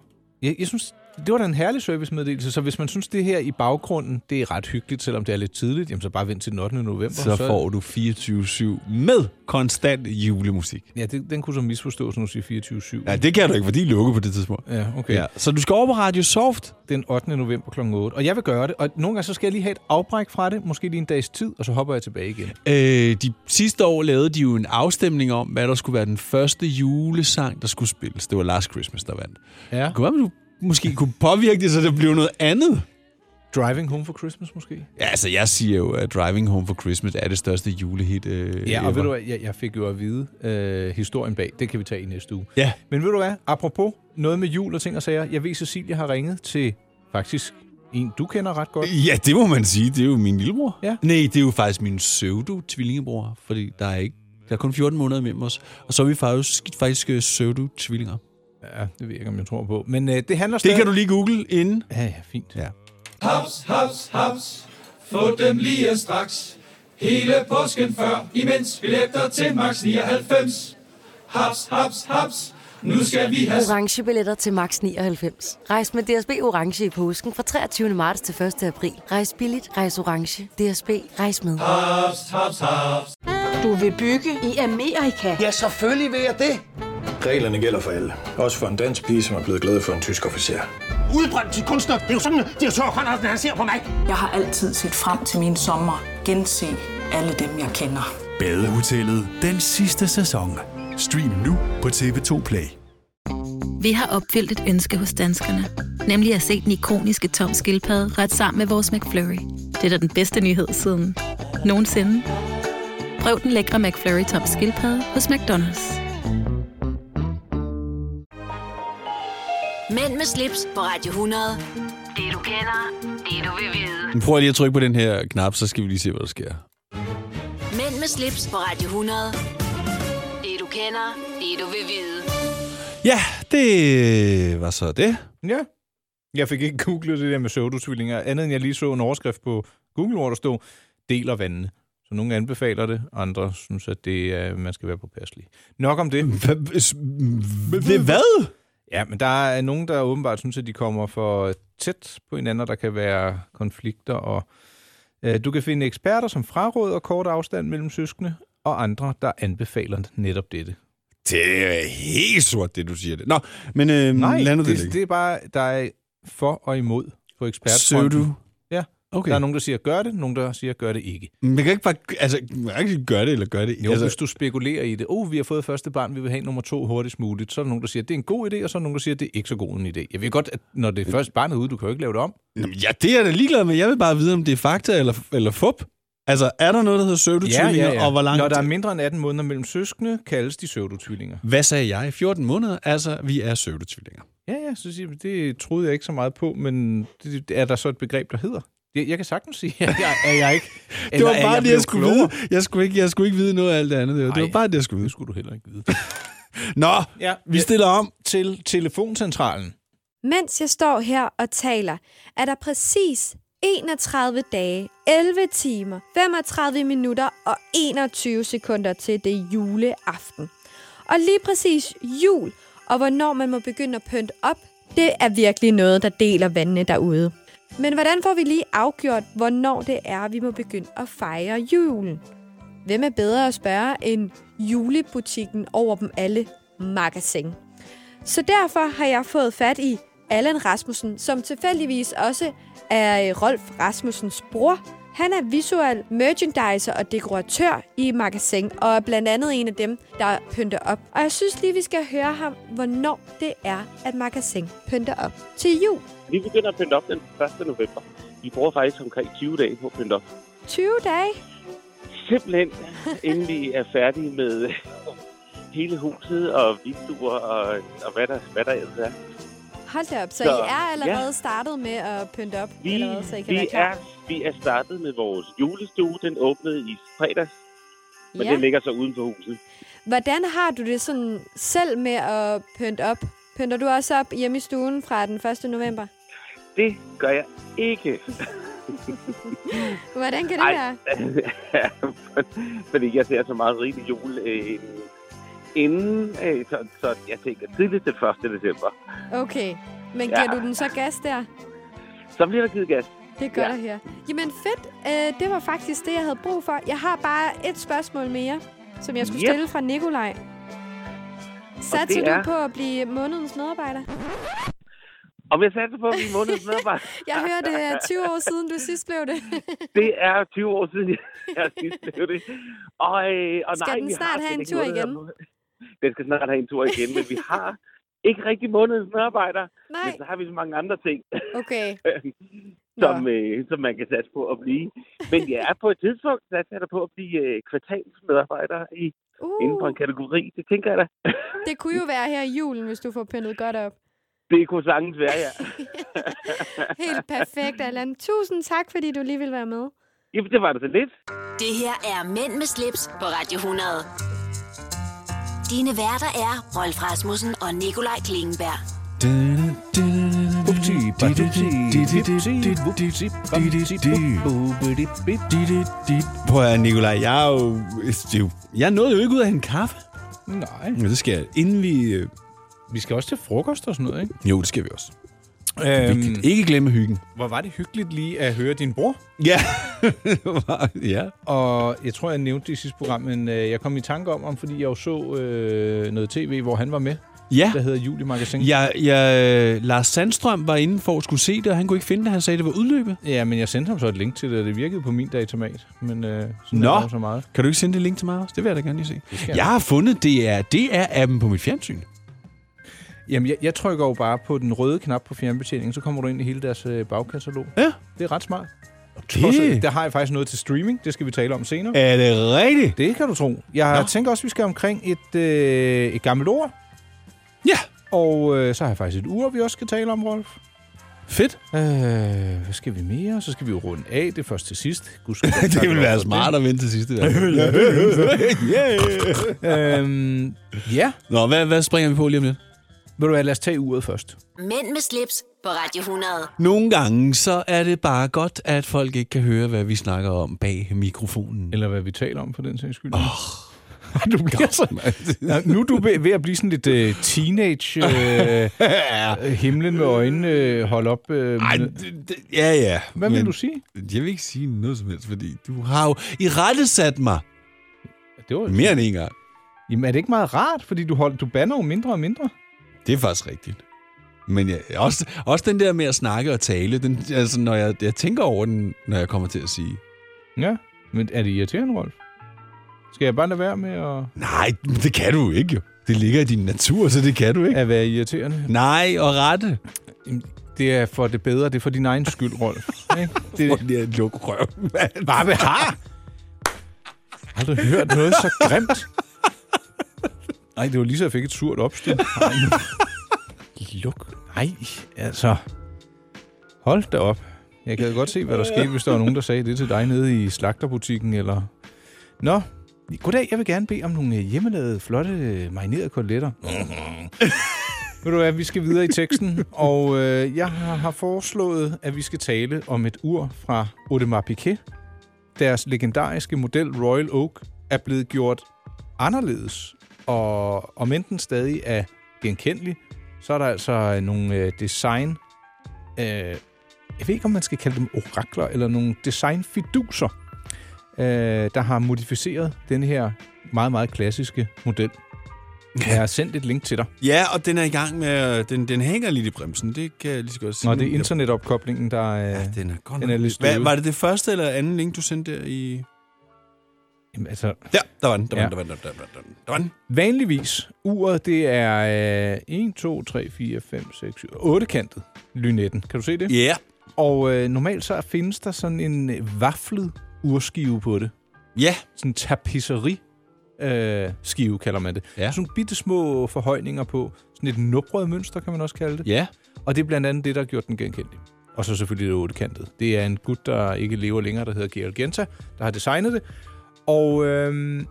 Speaker 2: Jeg, jeg synes, det var da en herlig servicemeddelelse, så hvis man synes, det her i baggrunden, det er ret hyggeligt, selvom det er lidt tidligt, jamen så bare vent til den 8. november.
Speaker 3: Så får du 24-7 med konstant julemusik.
Speaker 2: Ja, det, den kunne så misforstås, når du siger 24-7.
Speaker 3: Ja, det kan du ikke, for de er lukket på det tidspunkt.
Speaker 2: Ja, okay.
Speaker 3: Ja, så du skal over på Radio Soft.
Speaker 2: Den 8. november kl. 8. Og jeg vil gøre det, og nogle gange så skal jeg lige have et afbræk fra det, måske lige en dags tid, og så hopper jeg tilbage igen.
Speaker 3: Øh, de sidste år lavede de jo en afstemning om, hvad der skulle være den første julesang, der skulle spilles. Det var Last Christmas, der vandt.
Speaker 2: Ja.
Speaker 3: Det kunne være, at du måske kunne påvirke det, så det blev noget andet.
Speaker 2: Driving Home for Christmas måske?
Speaker 3: Ja, altså, jeg siger jo, at Driving Home for Christmas er det største julehit øh,
Speaker 2: Ja, og ved
Speaker 3: ever.
Speaker 2: du hvad, jeg, jeg fik jo at vide øh, historien bag. Det kan vi tage i næste uge.
Speaker 3: Ja.
Speaker 2: Men ved du hvad, apropos noget med jul og ting og sager. Jeg ved, Cecilia har ringet til faktisk en, du kender ret godt.
Speaker 3: Ja, det må man sige. Det er jo min lillebror.
Speaker 2: Ja.
Speaker 3: Nej, det er jo faktisk min pseudo-tvillingebror, fordi der er ikke der er kun 14 måneder imellem os. Og så er vi faktisk, faktisk øh, pseudo-tvillinger.
Speaker 2: Ja, det ved jeg ikke, om jeg tror på. Men øh, det handler
Speaker 3: Det
Speaker 2: stadig...
Speaker 3: kan du lige google inden.
Speaker 2: Ja, ja, fint.
Speaker 3: Ja.
Speaker 10: Haps, haps, haps. Få dem lige straks. Hele påsken før, imens billetter til max 99. Haps, haps, haps. Nu skal vi have
Speaker 11: Orange billetter til max 99. Rejs med DSB Orange i påsken fra 23. marts til 1. april. Rejs billigt, rejs orange. DSB, rejs med.
Speaker 10: haps, haps, haps.
Speaker 5: Du vil bygge i Amerika? Ja, selvfølgelig vil jeg det.
Speaker 7: Reglerne gælder for alle. Også for en dansk pige, som er blevet glad for en tysk officer.
Speaker 6: Udbrændt til kunstner. Det er jo sådan, at de har tørt, han, han ser på mig.
Speaker 8: Jeg har altid set frem til min sommer, gense alle dem, jeg kender.
Speaker 9: Badehotellet den sidste sæson. Stream nu på TV2 Play.
Speaker 12: Vi har opfyldt et ønske hos danskerne. Nemlig at se den ikoniske tom skildpadde ret sammen med vores McFlurry. Det er da den bedste nyhed siden nogensinde. Prøv den lækre McFlurry tom skildpadde hos McDonald's.
Speaker 1: Mænd med slips på Radio 100. Det du kender, det du vil vide.
Speaker 3: Men prøv lige at trykke på den her knap, så skal vi lige se, hvad der sker.
Speaker 1: Mænd med slips på Radio 100. Det du kender, det du vil vide.
Speaker 3: Ja, det var så det.
Speaker 2: Ja. Jeg fik ikke googlet det der med pseudotvillinger, andet end jeg lige så en overskrift på Google, hvor der stod, deler vandene. Så nogle anbefaler det, andre synes, at det er, man skal være påpasselig. Nok om det.
Speaker 3: Ved hvad?
Speaker 2: Ja, men der er nogen, der åbenbart synes, at de kommer for tæt på hinanden, og der kan være konflikter. Og, øh, du kan finde eksperter, som fraråder kort afstand mellem søskende, og andre, der anbefaler netop dette.
Speaker 3: Det er helt sort, det du siger. Det. Nå, men øh,
Speaker 2: Nej,
Speaker 3: lad nu det,
Speaker 2: det,
Speaker 3: ligge.
Speaker 2: det er bare, der er for og imod på
Speaker 3: Søger
Speaker 2: ekspertfronten.
Speaker 3: du?
Speaker 2: Ja,
Speaker 3: Okay.
Speaker 2: okay. der er nogen, der siger, gør det, nogen, der siger, gør det ikke.
Speaker 3: Men Man kan ikke bare, altså, man kan ikke gøre det eller gøre det.
Speaker 2: Jo, altså, hvis
Speaker 3: altså,
Speaker 2: du spekulerer i det, oh, vi har fået første barn, vi vil have nummer to hurtigst muligt, så er der nogen, der siger, det er en god idé, og så er der nogen, der siger, det er ikke så god en idé. Jeg ved godt, at når
Speaker 3: Øh.
Speaker 2: det er første barn er ude, du kan jo ikke lave det om.
Speaker 3: jamen, ja, det er jeg da ligeglad med. Jeg vil bare vide, om det er fakta eller, eller fup. Altså, er der noget, der hedder pseudotvillinger, og hvor langt...
Speaker 2: Når der er mindre end 18 måneder mellem søskende, kaldes de pseudotvillinger.
Speaker 3: Hvad sagde jeg? 14 måneder? Altså, vi er pseudotvillinger.
Speaker 2: Ja, ja, så siger jeg, det troede jeg ikke så meget på, men det, det er der så et begreb, der hedder? Jeg, jeg kan sagtens sige, at jeg, er jeg ikke...
Speaker 3: Det
Speaker 2: eller
Speaker 3: var
Speaker 2: er
Speaker 3: bare det, jeg
Speaker 2: blevet
Speaker 3: skulle
Speaker 2: klogere?
Speaker 3: vide. Jeg skulle, ikke, jeg skulle ikke vide noget af alt det andet. Det var, det
Speaker 2: Ej.
Speaker 3: var bare det, jeg skulle vide.
Speaker 2: Det skulle du heller ikke vide.
Speaker 3: Nå,
Speaker 2: Ja,
Speaker 3: vi stiller om.
Speaker 2: til telefoncentralen.
Speaker 13: Mens jeg står her og taler, er der præcis 31 dage, 11 timer, 35 minutter og 21 sekunder til det juleaften. Og lige præcis jul og hvornår man må begynde at pynte op, det er virkelig noget, der deler vandene derude. Men hvordan får vi lige afgjort, hvornår det er, vi må begynde at fejre julen? Hvem er bedre at spørge end julebutikken over dem alle magasin? Så derfor har jeg fået fat i Allan Rasmussen, som tilfældigvis også er øh, Rolf Rasmussens bror. Han er visuel merchandiser og dekoratør i magasin, og er blandt andet en af dem, der pynter op. Og jeg synes lige, vi skal høre ham, hvornår det er, at magasin pynter op til jul.
Speaker 14: Vi begynder at pynte op den 1. november. Vi bruger faktisk omkring 20 dage på at pynte op.
Speaker 13: 20 dage.
Speaker 14: Simpelthen, inden vi er færdige med øh, hele huset og vinduer og, og hvad, der, hvad der ellers er.
Speaker 13: Hold da op, så, så
Speaker 14: Så,
Speaker 13: I er allerede
Speaker 14: ja.
Speaker 13: ja. startet med at pynte op,
Speaker 14: Vi,
Speaker 13: allerede, så I kan være
Speaker 14: vi,
Speaker 13: klar.
Speaker 14: er, vi er startet med vores julestue. Den åbnede i fredags, men
Speaker 13: Ja.
Speaker 14: den ligger så uden for huset.
Speaker 13: Hvordan har du det sådan selv med at pynte op? Pynter du også op hjemme i stuen fra den 1. november?
Speaker 14: Det gør jeg ikke.
Speaker 13: Hvordan kan det
Speaker 14: Ej.
Speaker 13: være?
Speaker 14: Fordi jeg ser så meget rigtig jul øh, inden, øh, så, så jeg tænker tidligt den 1. december.
Speaker 13: Okay, men
Speaker 14: Ja.
Speaker 13: giver du den så gas der?
Speaker 14: Så bliver der givet gas.
Speaker 13: Det er godt
Speaker 14: Ja.
Speaker 13: at høre. Jamen fedt, øh, det var faktisk det, jeg havde brug for. Jeg har bare et spørgsmål mere, som jeg skulle
Speaker 14: Yep.
Speaker 13: stille fra Nikolaj. Satser
Speaker 14: det
Speaker 13: du
Speaker 14: er-
Speaker 13: på at blive månedens medarbejder?
Speaker 14: Om jeg satte på min måneds medarbejder?
Speaker 13: Jeg hørte det er 20 år siden, du sidst blev det.
Speaker 14: Det er 20 år siden, jeg sidst blev det. Og, øh, og
Speaker 13: Skal
Speaker 14: nej,
Speaker 13: den
Speaker 14: vi
Speaker 13: snart
Speaker 14: har slet
Speaker 13: have en
Speaker 14: ikke
Speaker 13: tur
Speaker 14: noget
Speaker 13: igen?
Speaker 14: om- Den skal snart have en tur igen, men vi har ikke rigtig månedens medarbejder.
Speaker 13: Nej.
Speaker 14: Men så har vi så mange andre ting,
Speaker 13: Okay,
Speaker 14: som, øh, som man kan satse på at blive. Men jeg er på et tidspunkt sat der på at blive øh, kvartalsmedarbejder i,
Speaker 13: uh.
Speaker 14: inden for en kategori. Det tænker jeg da.
Speaker 13: det kunne jo være her i julen, hvis du får pyntet godt op.
Speaker 14: Det kunne sagtens være, ja.
Speaker 13: Helt perfekt, Allan. Tusind tak, fordi du lige vil være med.
Speaker 14: Jamen, det var det så lidt.
Speaker 1: Det her er Mænd med slips på Radio 100. Dine værter er Rolf Rasmussen og Nikolaj Klingenberg.
Speaker 3: Prøv at høre, Nikolaj, jeg er jo... det er jo- Jeg nåede jo ikke ud af en kaffe.
Speaker 2: Nej.
Speaker 3: Men det skal jeg, inden vi... øh-
Speaker 2: Vi skal også til frokost og sådan noget, ikke?
Speaker 3: Jo, det skal vi også.
Speaker 2: Øhm.
Speaker 3: Øhm. Vigtigt. Ikke glemme hyggen.
Speaker 2: Hvor var det hyggeligt lige at høre din bror.
Speaker 3: Ja. ja.
Speaker 2: Og jeg tror, jeg nævnte det i sidste program, men øh, jeg kom i tanke om ham, fordi jeg jo så øh, noget tv, hvor han var med.
Speaker 3: Ja.
Speaker 2: Der hedder Julie Magasin.
Speaker 3: Jeg, jeg, Lars Sandstrøm var inde for at skulle se det, og han kunne ikke finde det. Han sagde, det var udløbet.
Speaker 2: Ja, men jeg sendte ham så et link til det, og det virkede på min datamat. Men øh, sådan
Speaker 3: Nå.
Speaker 2: er der jo så meget.
Speaker 3: Kan du ikke sende det link til mig også? Det vil jeg da gerne lige se.
Speaker 2: skal jeg.
Speaker 3: Jeg har fundet DR, DR-appen på mit fjernsyn.
Speaker 2: Jamen, jeg, jeg trykker jo bare på den røde knap på fjernbetjeningen, så kommer du ind i hele deres øh, bagkatalog.
Speaker 3: Ja.
Speaker 2: Det er ret smart.
Speaker 3: Det-
Speaker 2: Også, der har jeg faktisk noget til streaming, det skal vi tale om senere.
Speaker 3: Er det rigtigt?
Speaker 2: Det kan du tro. Jeg Nå. tænker også, at vi skal omkring et, øh, et gammelt ord.
Speaker 3: Ja.
Speaker 2: Og øh, så har jeg faktisk et ur, vi også skal tale om, Rolf.
Speaker 3: Fedt.
Speaker 2: Øh, hvad skal vi mere? Så skal vi jo runde af det først til sidst. Gud skal
Speaker 3: Det ville være smart at vente til sidste. i hvert fald.
Speaker 2: yeah. øhm, ja.
Speaker 3: Nå, hvad, hvad springer vi på lige om lidt?
Speaker 2: Vil du hvad, lad os tage uret først.
Speaker 1: Mænd med slips på Radio 100.
Speaker 3: Nogle gange, så er det bare godt, at folk ikke kan høre, hvad vi snakker om bag mikrofonen.
Speaker 2: Eller hvad vi taler om, for den sags skyld. Oh. Du bliver så... Nå, nu er du ved- ved at blive sådan lidt øh, teenage... Øh, øh, himlen med øjnene øh, hold op. Øh, Ej,
Speaker 3: det, Ja, ja.
Speaker 2: Hvad vil du sige?
Speaker 3: Jeg vil ikke sige noget som helst, fordi du har jo i rette sat mig.
Speaker 2: Det var...
Speaker 3: Mere end en gang.
Speaker 2: Jamen, er det ikke meget rart? Fordi du, hold, du banner jo mindre og mindre.
Speaker 3: Det er faktisk rigtigt. Men ja, også, også den der med at snakke og tale, den, altså, når jeg, jeg tænker over den, når jeg kommer til at sige.
Speaker 2: Ja, men er det irriterende, Rolf? Skal jeg bare lade være med at...
Speaker 3: Nej, men det kan du jo ikke jo. Det ligger i din natur, så det kan du ikke.
Speaker 2: At være irriterende?
Speaker 3: Nej, og rette.
Speaker 2: Det er for det bedre, det er for din egen skyld, Rolf. Ikke? Det
Speaker 3: er lige at lukke røven, mand.
Speaker 2: Hvad vil har? Har du hørt noget så grimt? Nej, det var lige så, jeg fik et surt opstød. Ej, nu- Luk. Nej, altså. Hold da op. Jeg kan godt se, hvad der skete, hvis der var nogen, der sagde det til dig nede i slagterbutikken, eller... Nå, goddag, jeg vil gerne bede om nogle øh, hjemmelavede, flotte, øh, marinerede koteletter. Ved du hvad, vi skal videre i teksten, og øh, jeg har har foreslået, at vi skal tale om et ur fra Audemars Piguet. Deres legendariske model Royal Oak er blevet gjort anderledes, og om enten stadig er genkendelig, så er der altså nogle øh, design... Øh, jeg ved ikke, om man skal kalde dem orakler, eller nogle designfiduser, øh, der har modificeret den her meget, meget klassiske model. Jeg har sendt et link til dig.
Speaker 3: Ja, og den er i gang med... Den, den hænger lidt i bremsen, det kan jeg lige så godt sige.
Speaker 2: Nå, det er internetopkoblingen, der øh, ja,
Speaker 3: den er, godt
Speaker 2: den er lidt
Speaker 3: Hvad,
Speaker 2: støvet.
Speaker 3: var det det første eller anden link, du sendte der i...
Speaker 2: Jamen, altså...
Speaker 3: Der, der var den, der var
Speaker 2: Ja.
Speaker 3: den, der var den, der var den, der var den. Der var den.
Speaker 2: Vanligvis, uret det er øh, 1, 2, 3, 4, 5, 6, 7, 8 kantet lynetten. Kan du se det?
Speaker 3: Ja. Yeah.
Speaker 2: Og øh, normalt så findes der sådan en øh, vaflet urskive på det.
Speaker 3: Ja. Yeah.
Speaker 2: Sådan en tapisserie øh, skive kalder man det.
Speaker 3: Ja.
Speaker 2: Sådan nogle bitte små forhøjninger på. Sådan et nubret mønster, kan man også kalde det.
Speaker 3: Ja.
Speaker 2: Og det er blandt andet det, der har gjort den genkendelig. Og så selvfølgelig det ottekantet. Det er en gut, der ikke lever længere, der hedder Gerald Genta, der har designet det. Og øhm,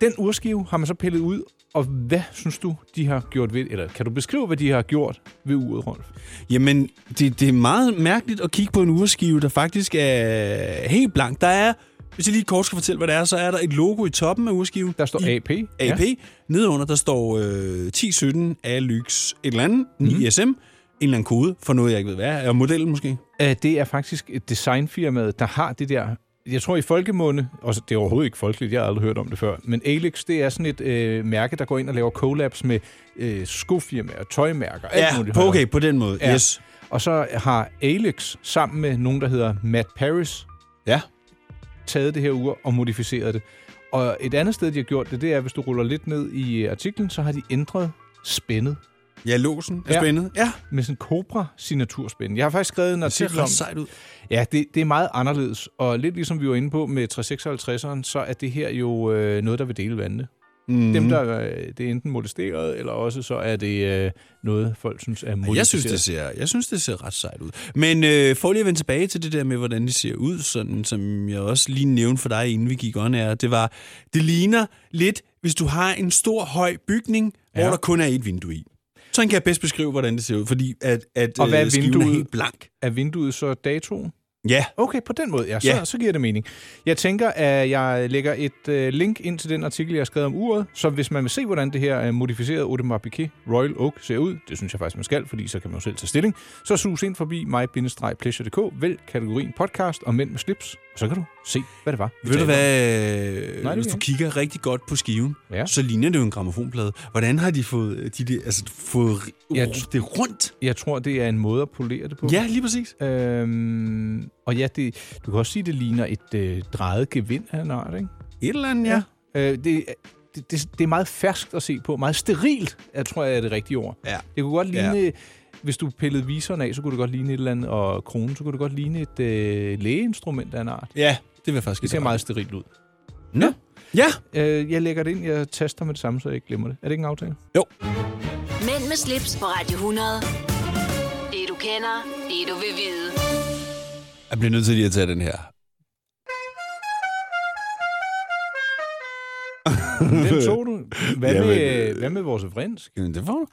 Speaker 2: den urskive har man så pillet ud, og hvad synes du, de har gjort ved Eller kan du beskrive, hvad de har gjort ved uret, Rolf?
Speaker 3: Jamen, det, det er meget mærkeligt at kigge på en urskive, der faktisk er helt blank. Der er, hvis jeg lige kort skal fortælle, hvad det er, så er der et logo i toppen af urskiven.
Speaker 2: Der står AP.
Speaker 3: AP. Ja. Nedenunder, der står øh, 1017 Alyx et eller andet, mm.
Speaker 2: Mhm.
Speaker 3: ISM, en eller anden kode for noget, jeg ikke ved, hvad er. Er modellen måske?
Speaker 2: Øh, det er faktisk et designfirma, der har det der... Jeg tror i folkemunde, og det er overhovedet ikke folkeligt, jeg har aldrig hørt om det før, men Alex, det er sådan et øh, mærke, der går ind og laver collabs med øh, skofirmaer, tøjmærker, alt
Speaker 3: Ja,
Speaker 2: muligt.
Speaker 3: på- okay, på den måde, yes.
Speaker 2: Og så har Alex sammen med nogen, der hedder Matt Paris,
Speaker 3: ja.
Speaker 2: taget det her ur og modificeret det. Og et andet sted, de har gjort det, det er, hvis du ruller lidt ned i øh, artiklen, så har de ændret spændet.
Speaker 3: Ja, låsen er spændet. Ja.
Speaker 2: Med sådan en Cobra-signaturspænde. Jeg har faktisk skrevet en
Speaker 3: Det ser
Speaker 2: artikel
Speaker 3: ret
Speaker 2: om...
Speaker 3: sejt ud.
Speaker 2: Ja, det, det er meget anderledes. Og lidt ligesom vi var inde på med 356'eren, så er det her jo øh, noget, der vil dele vandene.
Speaker 3: Mhm.
Speaker 2: Mm. Dem, der øh, det er enten molesteret, eller også så er det øh, noget, folk synes er modificeret.
Speaker 3: Jeg synes, det ser, jeg synes, det ser ret sejt ud. Men øh, for lige at vende tilbage til det der med, hvordan det ser ud, sådan, som jeg også lige nævnte for dig, inden vi gik on her, det var, det ligner lidt, hvis du har en stor, høj bygning, ja. hvor der kun er et vindue i. Sådan kan jeg bedst beskrive, hvordan det ser ud, fordi at, at
Speaker 2: Og hvad er
Speaker 3: øh, skiven er
Speaker 2: vinduet?
Speaker 3: helt blank.
Speaker 2: Er vinduet så datoen?
Speaker 3: Ja.
Speaker 2: Okay, på den måde, ja. Så,
Speaker 3: Ja.
Speaker 2: ja. så giver det mening. Jeg tænker, at jeg lægger et øh, link ind til den artikel, jeg har skrevet om uret, så hvis man vil se, hvordan det her øh, modificerede Audemars Piguet Royal Oak ser ud, det synes jeg faktisk, man skal, fordi så kan man jo selv tage stilling, så sus ind forbi mig-pleasure.dk, vælg kategorien podcast og mænd med slips, og så kan du se, hvad det var. vi
Speaker 3: Ved du
Speaker 2: talte om.
Speaker 3: hvad,
Speaker 2: Nej,
Speaker 3: Nej, hvis
Speaker 2: det vil
Speaker 3: du
Speaker 2: jeg
Speaker 3: kigger rigtig godt på skiven, ja. så ligner det jo en gramofonplade. Hvordan har de fået, øh, de, der- altså, fået
Speaker 2: Jeg
Speaker 3: jeg, det rundt?
Speaker 2: Jeg tror, det er en måde at polere det på.
Speaker 3: Ja, lige præcis.
Speaker 2: Øhm, og ja, det, du kan også sige, det ligner et øh, drejet gevind af en art, ikke?
Speaker 3: Et eller andet, ja.
Speaker 2: ja. Øh, det, det, det, det er meget ferskt at se på. Meget sterilt, jeg tror jeg er det rigtige ord.
Speaker 3: Ja.
Speaker 2: Det kunne godt ligne... Ja. Hvis du pillede viseren af, så kunne det godt ligne et eller andet, og kronen, så kunne det godt ligne et øh, lægeinstrument af en art.
Speaker 3: Ja, det vil jeg faktisk
Speaker 2: Det ser
Speaker 3: give dig
Speaker 2: meget
Speaker 3: ret i.
Speaker 2: sterilt ud.
Speaker 3: Nå. Ja.
Speaker 2: Øh, jeg lægger det ind, jeg taster med det samme, så jeg ikke glemmer det. Er det ikke en aftale?
Speaker 3: Jo.
Speaker 1: Mænd med slips på Radio 100. Det du kender, det du vil vide.
Speaker 3: Jeg bliver nødt til lige at tage den her.
Speaker 2: Den tog du. Hvad,
Speaker 3: Jamen,
Speaker 2: med, øh, hvad med vores vrinsk?
Speaker 3: Jamen, det får du.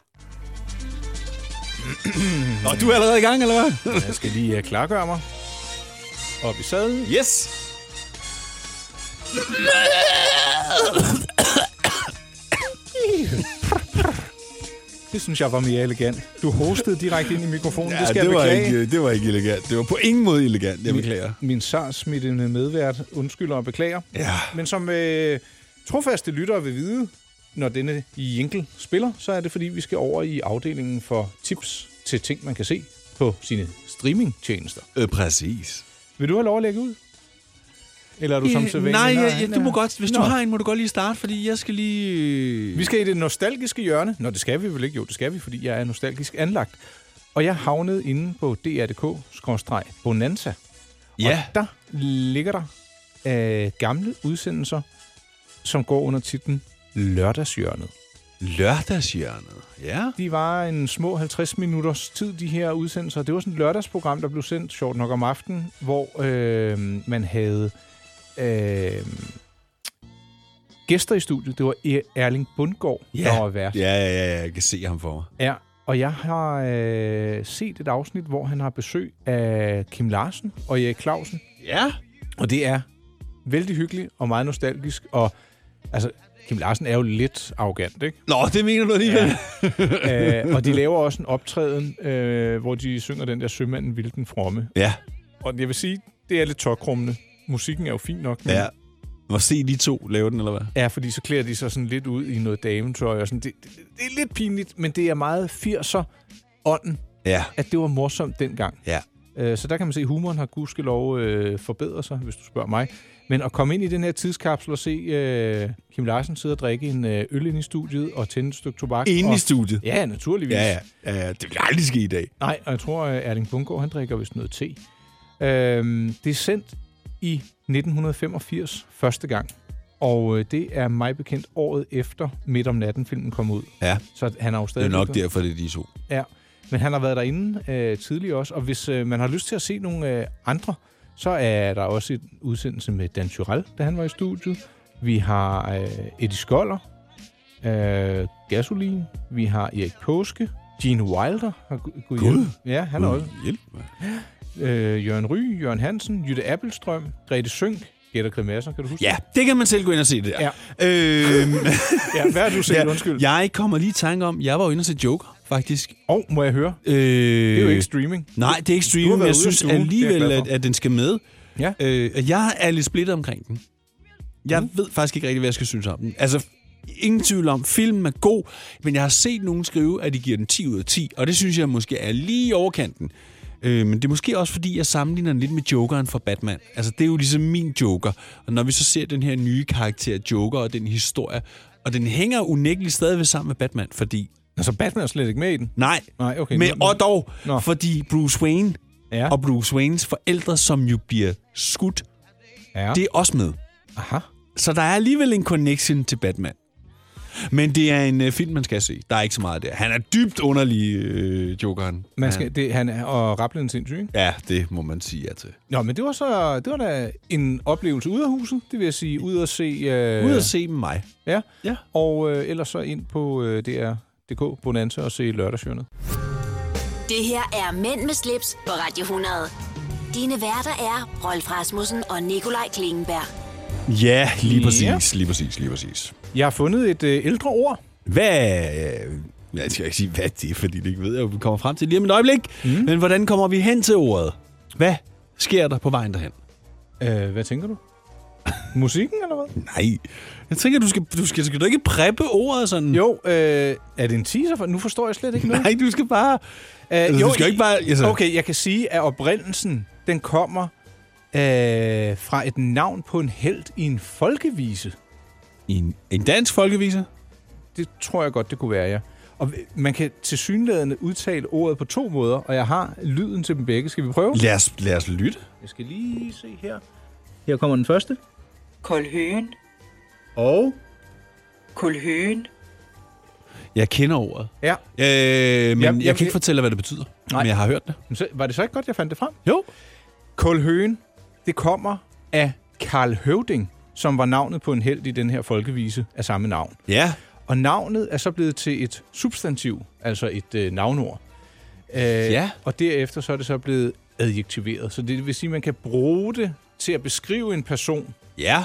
Speaker 3: Nå, du er allerede i gang, eller hvad?
Speaker 2: jeg skal lige uh, klargøre mig. Op i sadlen.
Speaker 3: Yes!
Speaker 2: Det synes jeg var mere elegant. Du hostede direkte ind i mikrofonen.
Speaker 3: Ja,
Speaker 2: det skal
Speaker 3: det,
Speaker 2: jeg
Speaker 3: var
Speaker 2: beklage.
Speaker 3: ikke, det var ikke elegant. Det var på ingen måde elegant. Jeg
Speaker 2: Min-
Speaker 3: beklager.
Speaker 2: Min sarsmittende medvært undskylder og beklager.
Speaker 3: Ja.
Speaker 2: Men som øh, trofaste lyttere vil vide, når denne jingle spiller, så er det fordi, vi skal over i afdelingen for tips til ting, man kan se på sine streamingtjenester.
Speaker 3: Øh, præcis.
Speaker 2: Vil du have lov at lægge ud? Eller er du som sædvanlig?
Speaker 3: Øh, Nej, ja, ja, du må godt. Hvis Nå. du
Speaker 2: Nå.
Speaker 3: har en, må du godt lige starte, fordi jeg skal lige...
Speaker 2: Vi skal i det nostalgiske hjørne. Nå, det skal vi vel ikke? Jo, det skal vi, fordi jeg er nostalgisk anlagt. Og jeg havnede inde på dr.dk-bonanza.
Speaker 3: Ja.
Speaker 2: Og der ligger der øh, gamle udsendelser, som går under titlen Lørdagshjørnet.
Speaker 3: Lørdagshjørnet? Ja.
Speaker 2: De var en små 50 minutters tid, de her udsendelser. Det var sådan et lørdagsprogram, der blev sendt, sjovt nok om aftenen, hvor øh, man havde øh, gæster i studiet. Det var Er- E- Erling Bundgaard, der var vært.
Speaker 3: Ja, ja, ja, ja, jeg kan se ham for mig.
Speaker 2: Ja, Og jeg har øh, set et afsnit, hvor han har besøg af Kim Larsen og Erik Clausen.
Speaker 3: Ja.
Speaker 2: Og det er vældig hyggeligt og meget nostalgisk. Og altså, Kim Larsen er jo lidt arrogant, ikke?
Speaker 3: Nå, det mener du alligevel.
Speaker 2: Ja. øh, og de laver også en optræden, øh, hvor de synger den der Sømanden vil den fromme.
Speaker 3: Ja.
Speaker 2: Og jeg vil sige, det er lidt tokrummende. Musikken er jo fin nok. men-
Speaker 3: Ja. Må se de to lave den, eller hvad?
Speaker 2: Ja, fordi så klæder de sig sådan lidt ud i noget dametøj. Og sådan. Det, det, det er lidt pinligt, men det er meget 80'er ånden,
Speaker 3: Ja.
Speaker 2: at det var morsomt dengang.
Speaker 3: Ja.
Speaker 2: Øh, Så der kan man se, at humoren har gudskelov øh, forbedret sig, hvis du spørger mig. Men at komme ind i den her tidskapsel og se øh, Kim Larsen sidde og drikke en øh, øl ind i studiet og tænde et stykke tobak.
Speaker 3: Inde
Speaker 2: og,
Speaker 3: i studiet?
Speaker 2: Ja, naturligvis.
Speaker 3: Ja, ja, ja. Det vil aldrig ske i dag.
Speaker 2: Nej, og jeg tror, at Erling Bundgaard, han drikker vist noget te. Øhm, det er sendt i 1985 første gang, og øh, det er mig bekendt året efter Midt om natten filmen kom ud.
Speaker 3: Ja.
Speaker 2: Så han har jo
Speaker 3: Det er
Speaker 2: stadig...
Speaker 3: nok derfor, det er de to.
Speaker 2: Ja, men han har været derinde øh, tidligere også, og hvis øh, man har lyst til at se nogle øh, andre, så er der også en udsendelse med Dan Tyrell, da han var i studiet. Vi har øh, Eddie Skoller, øh, Gasolin, vi har Erik Påske, Gene Wilder har gu- gud, hjælp. Ja, han er
Speaker 3: Gud
Speaker 2: også.
Speaker 3: Hjælp.
Speaker 2: Øh, Jørgen Ry, Jørgen Hansen, Jytte Appelstrøm, Grete Sønk, Gætter Grimasser, kan du huske?
Speaker 3: Ja, det kan man selv gå ind og se det der. Ja. Øhm,
Speaker 2: ja hvad har du set?
Speaker 3: Ja,
Speaker 2: Undskyld.
Speaker 3: Jeg kommer lige i tanke om, jeg var jo inde og se Joker, faktisk.
Speaker 2: Og må jeg høre?
Speaker 3: Øh, det
Speaker 2: er jo ikke streaming.
Speaker 3: Nej, det er ikke
Speaker 2: Du har
Speaker 3: streaming, men jeg
Speaker 2: været ude af
Speaker 3: synes
Speaker 2: stuen, det er jeg
Speaker 3: alligevel,
Speaker 2: glad for.
Speaker 3: at, at den skal med.
Speaker 2: Ja.
Speaker 3: Øh, og jeg er lidt splittet omkring den. Jeg mm. ved faktisk ikke rigtig, hvad jeg skal synes om den. Altså, ingen tvivl om, filmen er god, men jeg har set nogen skrive, at de giver den 10 ud af 10, og det synes jeg måske er lige i overkanten. Øh, men det er måske også, fordi jeg sammenligner den lidt med Jokeren fra Batman. Altså, det er jo ligesom min Joker. Og når vi så ser den her nye karakter Joker og den historie, og den hænger unægteligt stadigvæk sammen med Batman, fordi...
Speaker 2: Altså, Batman er slet ikke med i den?
Speaker 3: Nej.
Speaker 2: Nej, okay.
Speaker 3: Men,
Speaker 2: Nå,
Speaker 3: og dog,
Speaker 2: Nå.
Speaker 3: Nå. fordi Bruce Wayne
Speaker 2: ja.
Speaker 3: og Bruce Waynes forældre, som jo bliver skudt,
Speaker 2: ja.
Speaker 3: det er også med.
Speaker 2: Aha.
Speaker 3: Så der er alligevel en connection til Batman. Men det er en øh, film, man skal se. Der er ikke så meget der. Han er dybt underlig, øh, Jokeren.
Speaker 2: Man skal, det, han er, og Rapplen er sindssyg, ikke?
Speaker 3: Ja, det må man sige ja til.
Speaker 2: Nå, men det var så det var da en oplevelse ude af huset, det vil jeg sige, ude at se... Øh,
Speaker 3: Ud at se med mig.
Speaker 2: Ja,
Speaker 3: ja.
Speaker 2: og øh, ellers så ind på øh, DR.dk Bonanza og se lørdagsjørnet.
Speaker 1: Det her er Mænd med slips på Radio 100. Dine værter er Rolf Rasmussen og Nikolaj Klingenberg.
Speaker 3: Ja, lige præcis,
Speaker 2: Ja.
Speaker 3: ja. lige præcis, lige præcis.
Speaker 2: Jeg har fundet et øh, ældre ord.
Speaker 3: Hvad... øh, Jeg skal ikke sige, hvad det er, fordi det ikke ved jeg, vi kommer frem til lige om et øjeblik. Mm. Men hvordan kommer vi hen til ordet? Hvad sker der på vejen derhen?
Speaker 2: Øh, hvad tænker du? Musikken, eller hvad?
Speaker 3: Nej. Jeg tænker, du skal, du skal, skal du ikke preppe ordet sådan?
Speaker 2: Jo, øh, er det en teaser? For, nu forstår jeg slet ikke noget.
Speaker 3: Nej, du skal bare...
Speaker 2: Øh,
Speaker 3: Altså, du skal jo ikke bare- altså-
Speaker 2: Okay, jeg kan sige, at oprindelsen, den kommer øh, fra et navn på en held i en folkevise.
Speaker 3: En, en dansk folkevise?
Speaker 2: Det tror jeg godt, det kunne være, ja. Og man kan til synlædende udtale ordet på to måder, og jeg har lyden til dem begge. Skal vi prøve?
Speaker 3: Lad os, lad os lytte.
Speaker 2: Jeg skal lige se her. Her kommer den første.
Speaker 15: Koldhøen.
Speaker 2: Og?
Speaker 15: Koldhøen.
Speaker 3: Jeg kender ordet.
Speaker 2: Ja.
Speaker 3: Øh, men
Speaker 2: Ja,
Speaker 3: jeg, jeg,
Speaker 2: jeg-
Speaker 3: jeg kan ikke fortælle, hvad det betyder. Nej. Men jeg har hørt det.
Speaker 2: Men Så, var det så ikke godt, jeg fandt det frem?
Speaker 3: Jo.
Speaker 2: Kulhøen, det kommer af Karl Høvding, som var navnet på en held i den her folkevise af samme navn.
Speaker 3: Ja.
Speaker 2: Og navnet er så blevet til et substantiv, altså et øh, navnord. Øh,
Speaker 3: Ja.
Speaker 2: Og derefter så er det så blevet adjektiveret. Så det vil sige, at man kan bruge det til at beskrive en person.
Speaker 3: Ja.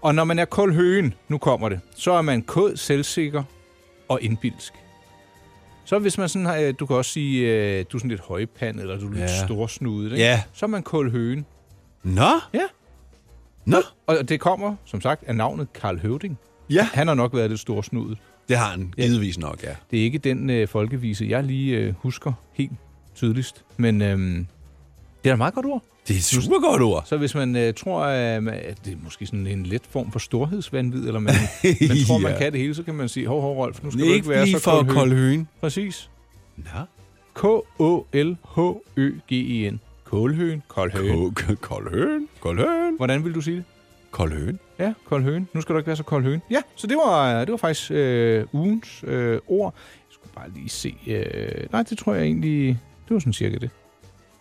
Speaker 2: Og når man er kulhøen, nu kommer det, så er man kod, selvsikker og indbilsk. Så hvis man sådan har, øh, du kan også sige, øh, du er sådan lidt højpand, eller du er lidt
Speaker 3: Ja.
Speaker 2: storsnudet, ikke?
Speaker 3: Ja.
Speaker 2: så er man kulhøen.
Speaker 3: Nå?
Speaker 2: Ja.
Speaker 3: Nå?
Speaker 2: Og det kommer, som sagt, af navnet Karl Høvding.
Speaker 3: Ja.
Speaker 2: Han har nok været lidt storsnudet.
Speaker 3: Det har han givetvis nok, ja.
Speaker 2: Det er ikke den øh, folkevise, jeg lige øh, husker helt tydeligst. Men øhm, det er da et meget godt ord.
Speaker 3: Det er et super godt ord.
Speaker 2: Så hvis man øh, tror, øh, man- at det er måske sådan en let form for storhedsvandvid, eller man, man tror, man
Speaker 3: Ja.
Speaker 2: kan det hele, så kan man sige, hov, hov, Rolf, nu skal
Speaker 3: Ikke
Speaker 2: du ikke være
Speaker 3: blive
Speaker 2: så
Speaker 3: for
Speaker 2: koldhøen."
Speaker 3: koldhøen.
Speaker 2: Præcis.
Speaker 3: Nå.
Speaker 2: K-O-L-H-Ø-G-E-N. Kålhøen, koldhøen.
Speaker 3: K- Koldhøen, koldhøen.
Speaker 2: Hvordan vil du sige det?
Speaker 3: Koldhøen.
Speaker 2: Ja, kold høne. Nu skal du ikke være så kold høne. Ja, så det var, det var faktisk øh, ugens øh, ord. Jeg skulle bare lige se. Øh, nej, det tror jeg egentlig... Det var sådan cirka det.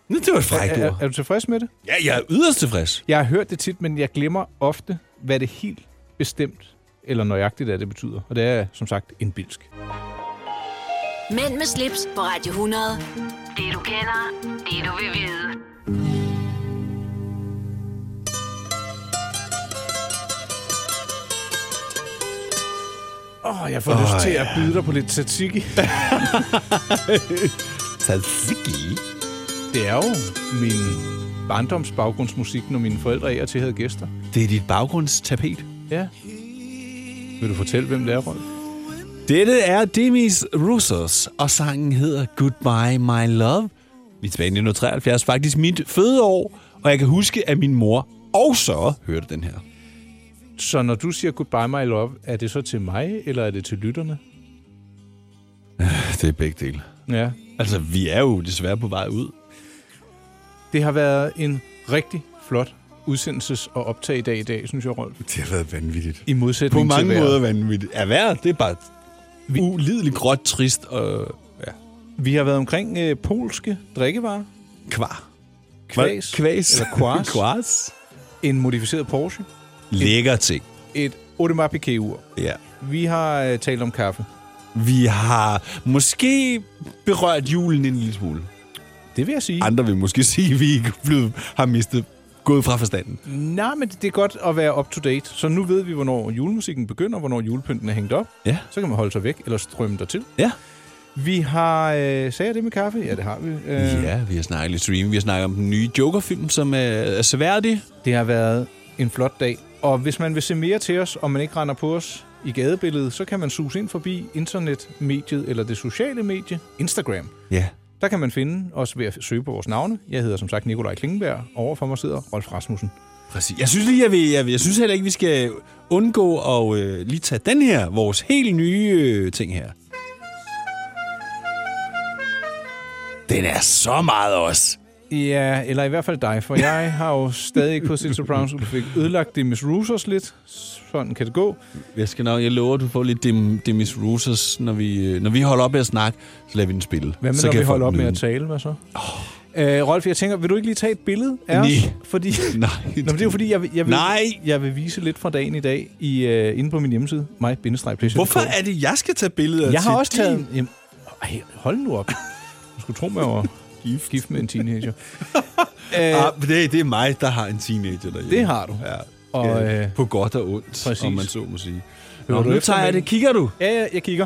Speaker 3: Nå, Det var et
Speaker 2: Er,
Speaker 3: frækt
Speaker 2: er,
Speaker 3: ord.
Speaker 2: er du tilfreds med det?
Speaker 3: Ja, jeg er yderst tilfreds.
Speaker 2: Jeg har hørt det tit, men jeg glemmer ofte, hvad det helt bestemt eller nøjagtigt er, det betyder. Og det er, som sagt, en bilsk.
Speaker 1: Mænd med slips på Radio 100. Det du kender, det du vil vide.
Speaker 2: Åh, oh, jeg får oh, lyst til at byde dig på lidt tzatziki.
Speaker 3: tzatziki?
Speaker 2: Det er jo min barndomsbaggrundsmusik, når mine forældre af og til havde gæster.
Speaker 3: Det er dit baggrundstapet.
Speaker 2: Ja. Vil du fortælle, hvem det er, Rolf?
Speaker 3: Dette er Demis Roussos, og sangen hedder Goodbye My Love. Mit tilbage i 1973, faktisk mit fødeår, og jeg kan huske, at min mor også hørte den her.
Speaker 2: Så når du siger Goodbye My Love, er det så til mig, eller er det til lytterne?
Speaker 3: Det er begge dele.
Speaker 2: Ja.
Speaker 3: Altså, vi er jo desværre på vej ud.
Speaker 2: Det har været en rigtig flot udsendelses- og optag i dag i dag, synes jeg, Rolf.
Speaker 3: Det har været vanvittigt.
Speaker 2: I modsætning
Speaker 3: På mange
Speaker 2: til vejret.
Speaker 3: måder vanvittigt. Er vejret, det er bare ulideligt gråt, trist og... Ja.
Speaker 2: Vi har været omkring øh, polske drikkevarer.
Speaker 3: Kvar.
Speaker 2: Kvæs.
Speaker 3: Kvæs.
Speaker 2: Eller kvars.
Speaker 3: Kvars.
Speaker 2: En modificeret Porsche.
Speaker 3: Lækker ting.
Speaker 2: Et Audemars Piguet-ur.
Speaker 3: Ja.
Speaker 2: Vi har øh, talt om kaffe.
Speaker 3: Vi har måske berørt julen en lille smule.
Speaker 2: Det vil jeg sige.
Speaker 3: Andre vil måske sige, at vi ikke er blevet, har mistet gået fra forstanden.
Speaker 2: Nej, men det er godt at være up-to-date. Så nu ved vi, hvornår julemusikken begynder, hvornår julepynten er hængt op.
Speaker 3: Ja.
Speaker 2: Så kan man holde sig væk, eller strømme dig til.
Speaker 3: Ja.
Speaker 2: Vi har... Øh, sagde jeg det med kaffe? Ja, det har vi. Øh,
Speaker 3: Ja, vi har snakket lidt streaming. Vi har snakket om den nye Joker-film, som er, er sværdig.
Speaker 2: Det har været en flot dag. Og hvis man vil se mere til os, og man ikke render på os i gadebilledet, så kan man suse ind forbi internetmediet eller det sociale medie, Instagram.
Speaker 3: Ja.
Speaker 2: Der kan man finde os ved at søge på vores navne. Jeg hedder som sagt Nikolaj Klingenberg. Over for mig sidder Rolf Rasmussen.
Speaker 3: Præcis. Jeg synes lige, jeg, vil, jeg, vil, jeg synes heller ikke, vi skal undgå at øh, lige tage den her, vores helt nye øh, ting her. Den er så meget os.
Speaker 2: Ja, eller i hvert fald dig, for jeg har jo stadig ikke fået set Sopranos, og du fik ødelagt det Miss Rusers lidt. Sådan kan det gå.
Speaker 3: Jeg skal nok, jeg lover, at du får lidt dem, Demis Rousers, når vi, øh, når vi holder op med at snakke, så lader vi den spille.
Speaker 2: Hvad med,
Speaker 3: så
Speaker 2: når
Speaker 3: kan
Speaker 2: vi
Speaker 3: folk
Speaker 2: holder op med
Speaker 3: nyde
Speaker 2: at
Speaker 3: den.
Speaker 2: tale? Hvad så? Oh. Øh, Rolf, jeg tænker, vil du ikke lige tage et billede af
Speaker 3: Nej.
Speaker 2: os? Fordi...
Speaker 3: Nej.
Speaker 2: Nå, men det er jo fordi, jeg, vil- jeg, vil,
Speaker 3: Nej.
Speaker 2: jeg vil vise lidt fra dagen i dag i, øh, inde på min hjemmeside, mig
Speaker 3: Hvorfor er det, jeg skal tage billeder
Speaker 2: Jeg
Speaker 3: til
Speaker 2: har også
Speaker 3: din?
Speaker 2: taget... Jamen, ej, hold nu op. Du skulle tro mig over gift. gift med en teenager.
Speaker 3: Ah, det, det er mig, der har en teenager derhjemme.
Speaker 2: Det har du.
Speaker 3: Ja.
Speaker 2: Og,
Speaker 3: Og,
Speaker 2: øh,
Speaker 3: øh, på godt og ondt,
Speaker 2: præcis.
Speaker 3: præcis. om man så må sige.
Speaker 2: Hører
Speaker 3: Nå,
Speaker 2: du
Speaker 3: nu
Speaker 2: efter,
Speaker 3: tager jeg
Speaker 2: men-
Speaker 3: det. Kigger du?
Speaker 2: Ja, ja, jeg kigger.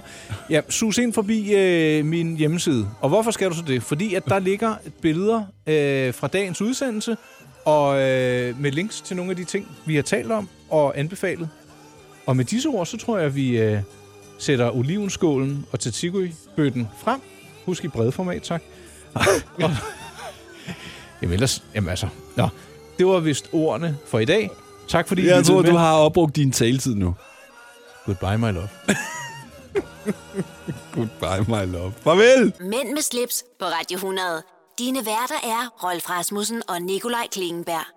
Speaker 2: Ja, sus ind forbi øh, min hjemmeside. Og hvorfor skal du så det? Fordi at der ligger billeder øh, fra dagens udsendelse, og øh, med links til nogle af de ting, vi har talt om og anbefalet. Og med disse ord, så tror jeg, at vi øh, sætter olivenskålen og tzatziki-bøtten frem. Husk i bredformat, tak. og, jamen ellers, jamen altså. Nå, det var vist ordene for i dag. Tak fordi I
Speaker 3: Jeg
Speaker 2: lyttede
Speaker 3: tror,
Speaker 2: med.
Speaker 3: du har opbrugt din taletid nu.
Speaker 2: Goodbye, my love.
Speaker 3: Goodbye, my love. Farvel!
Speaker 1: Mænd med slips på Radio 100. Dine værter er Rolf Rasmussen og Nikolaj Klingenberg.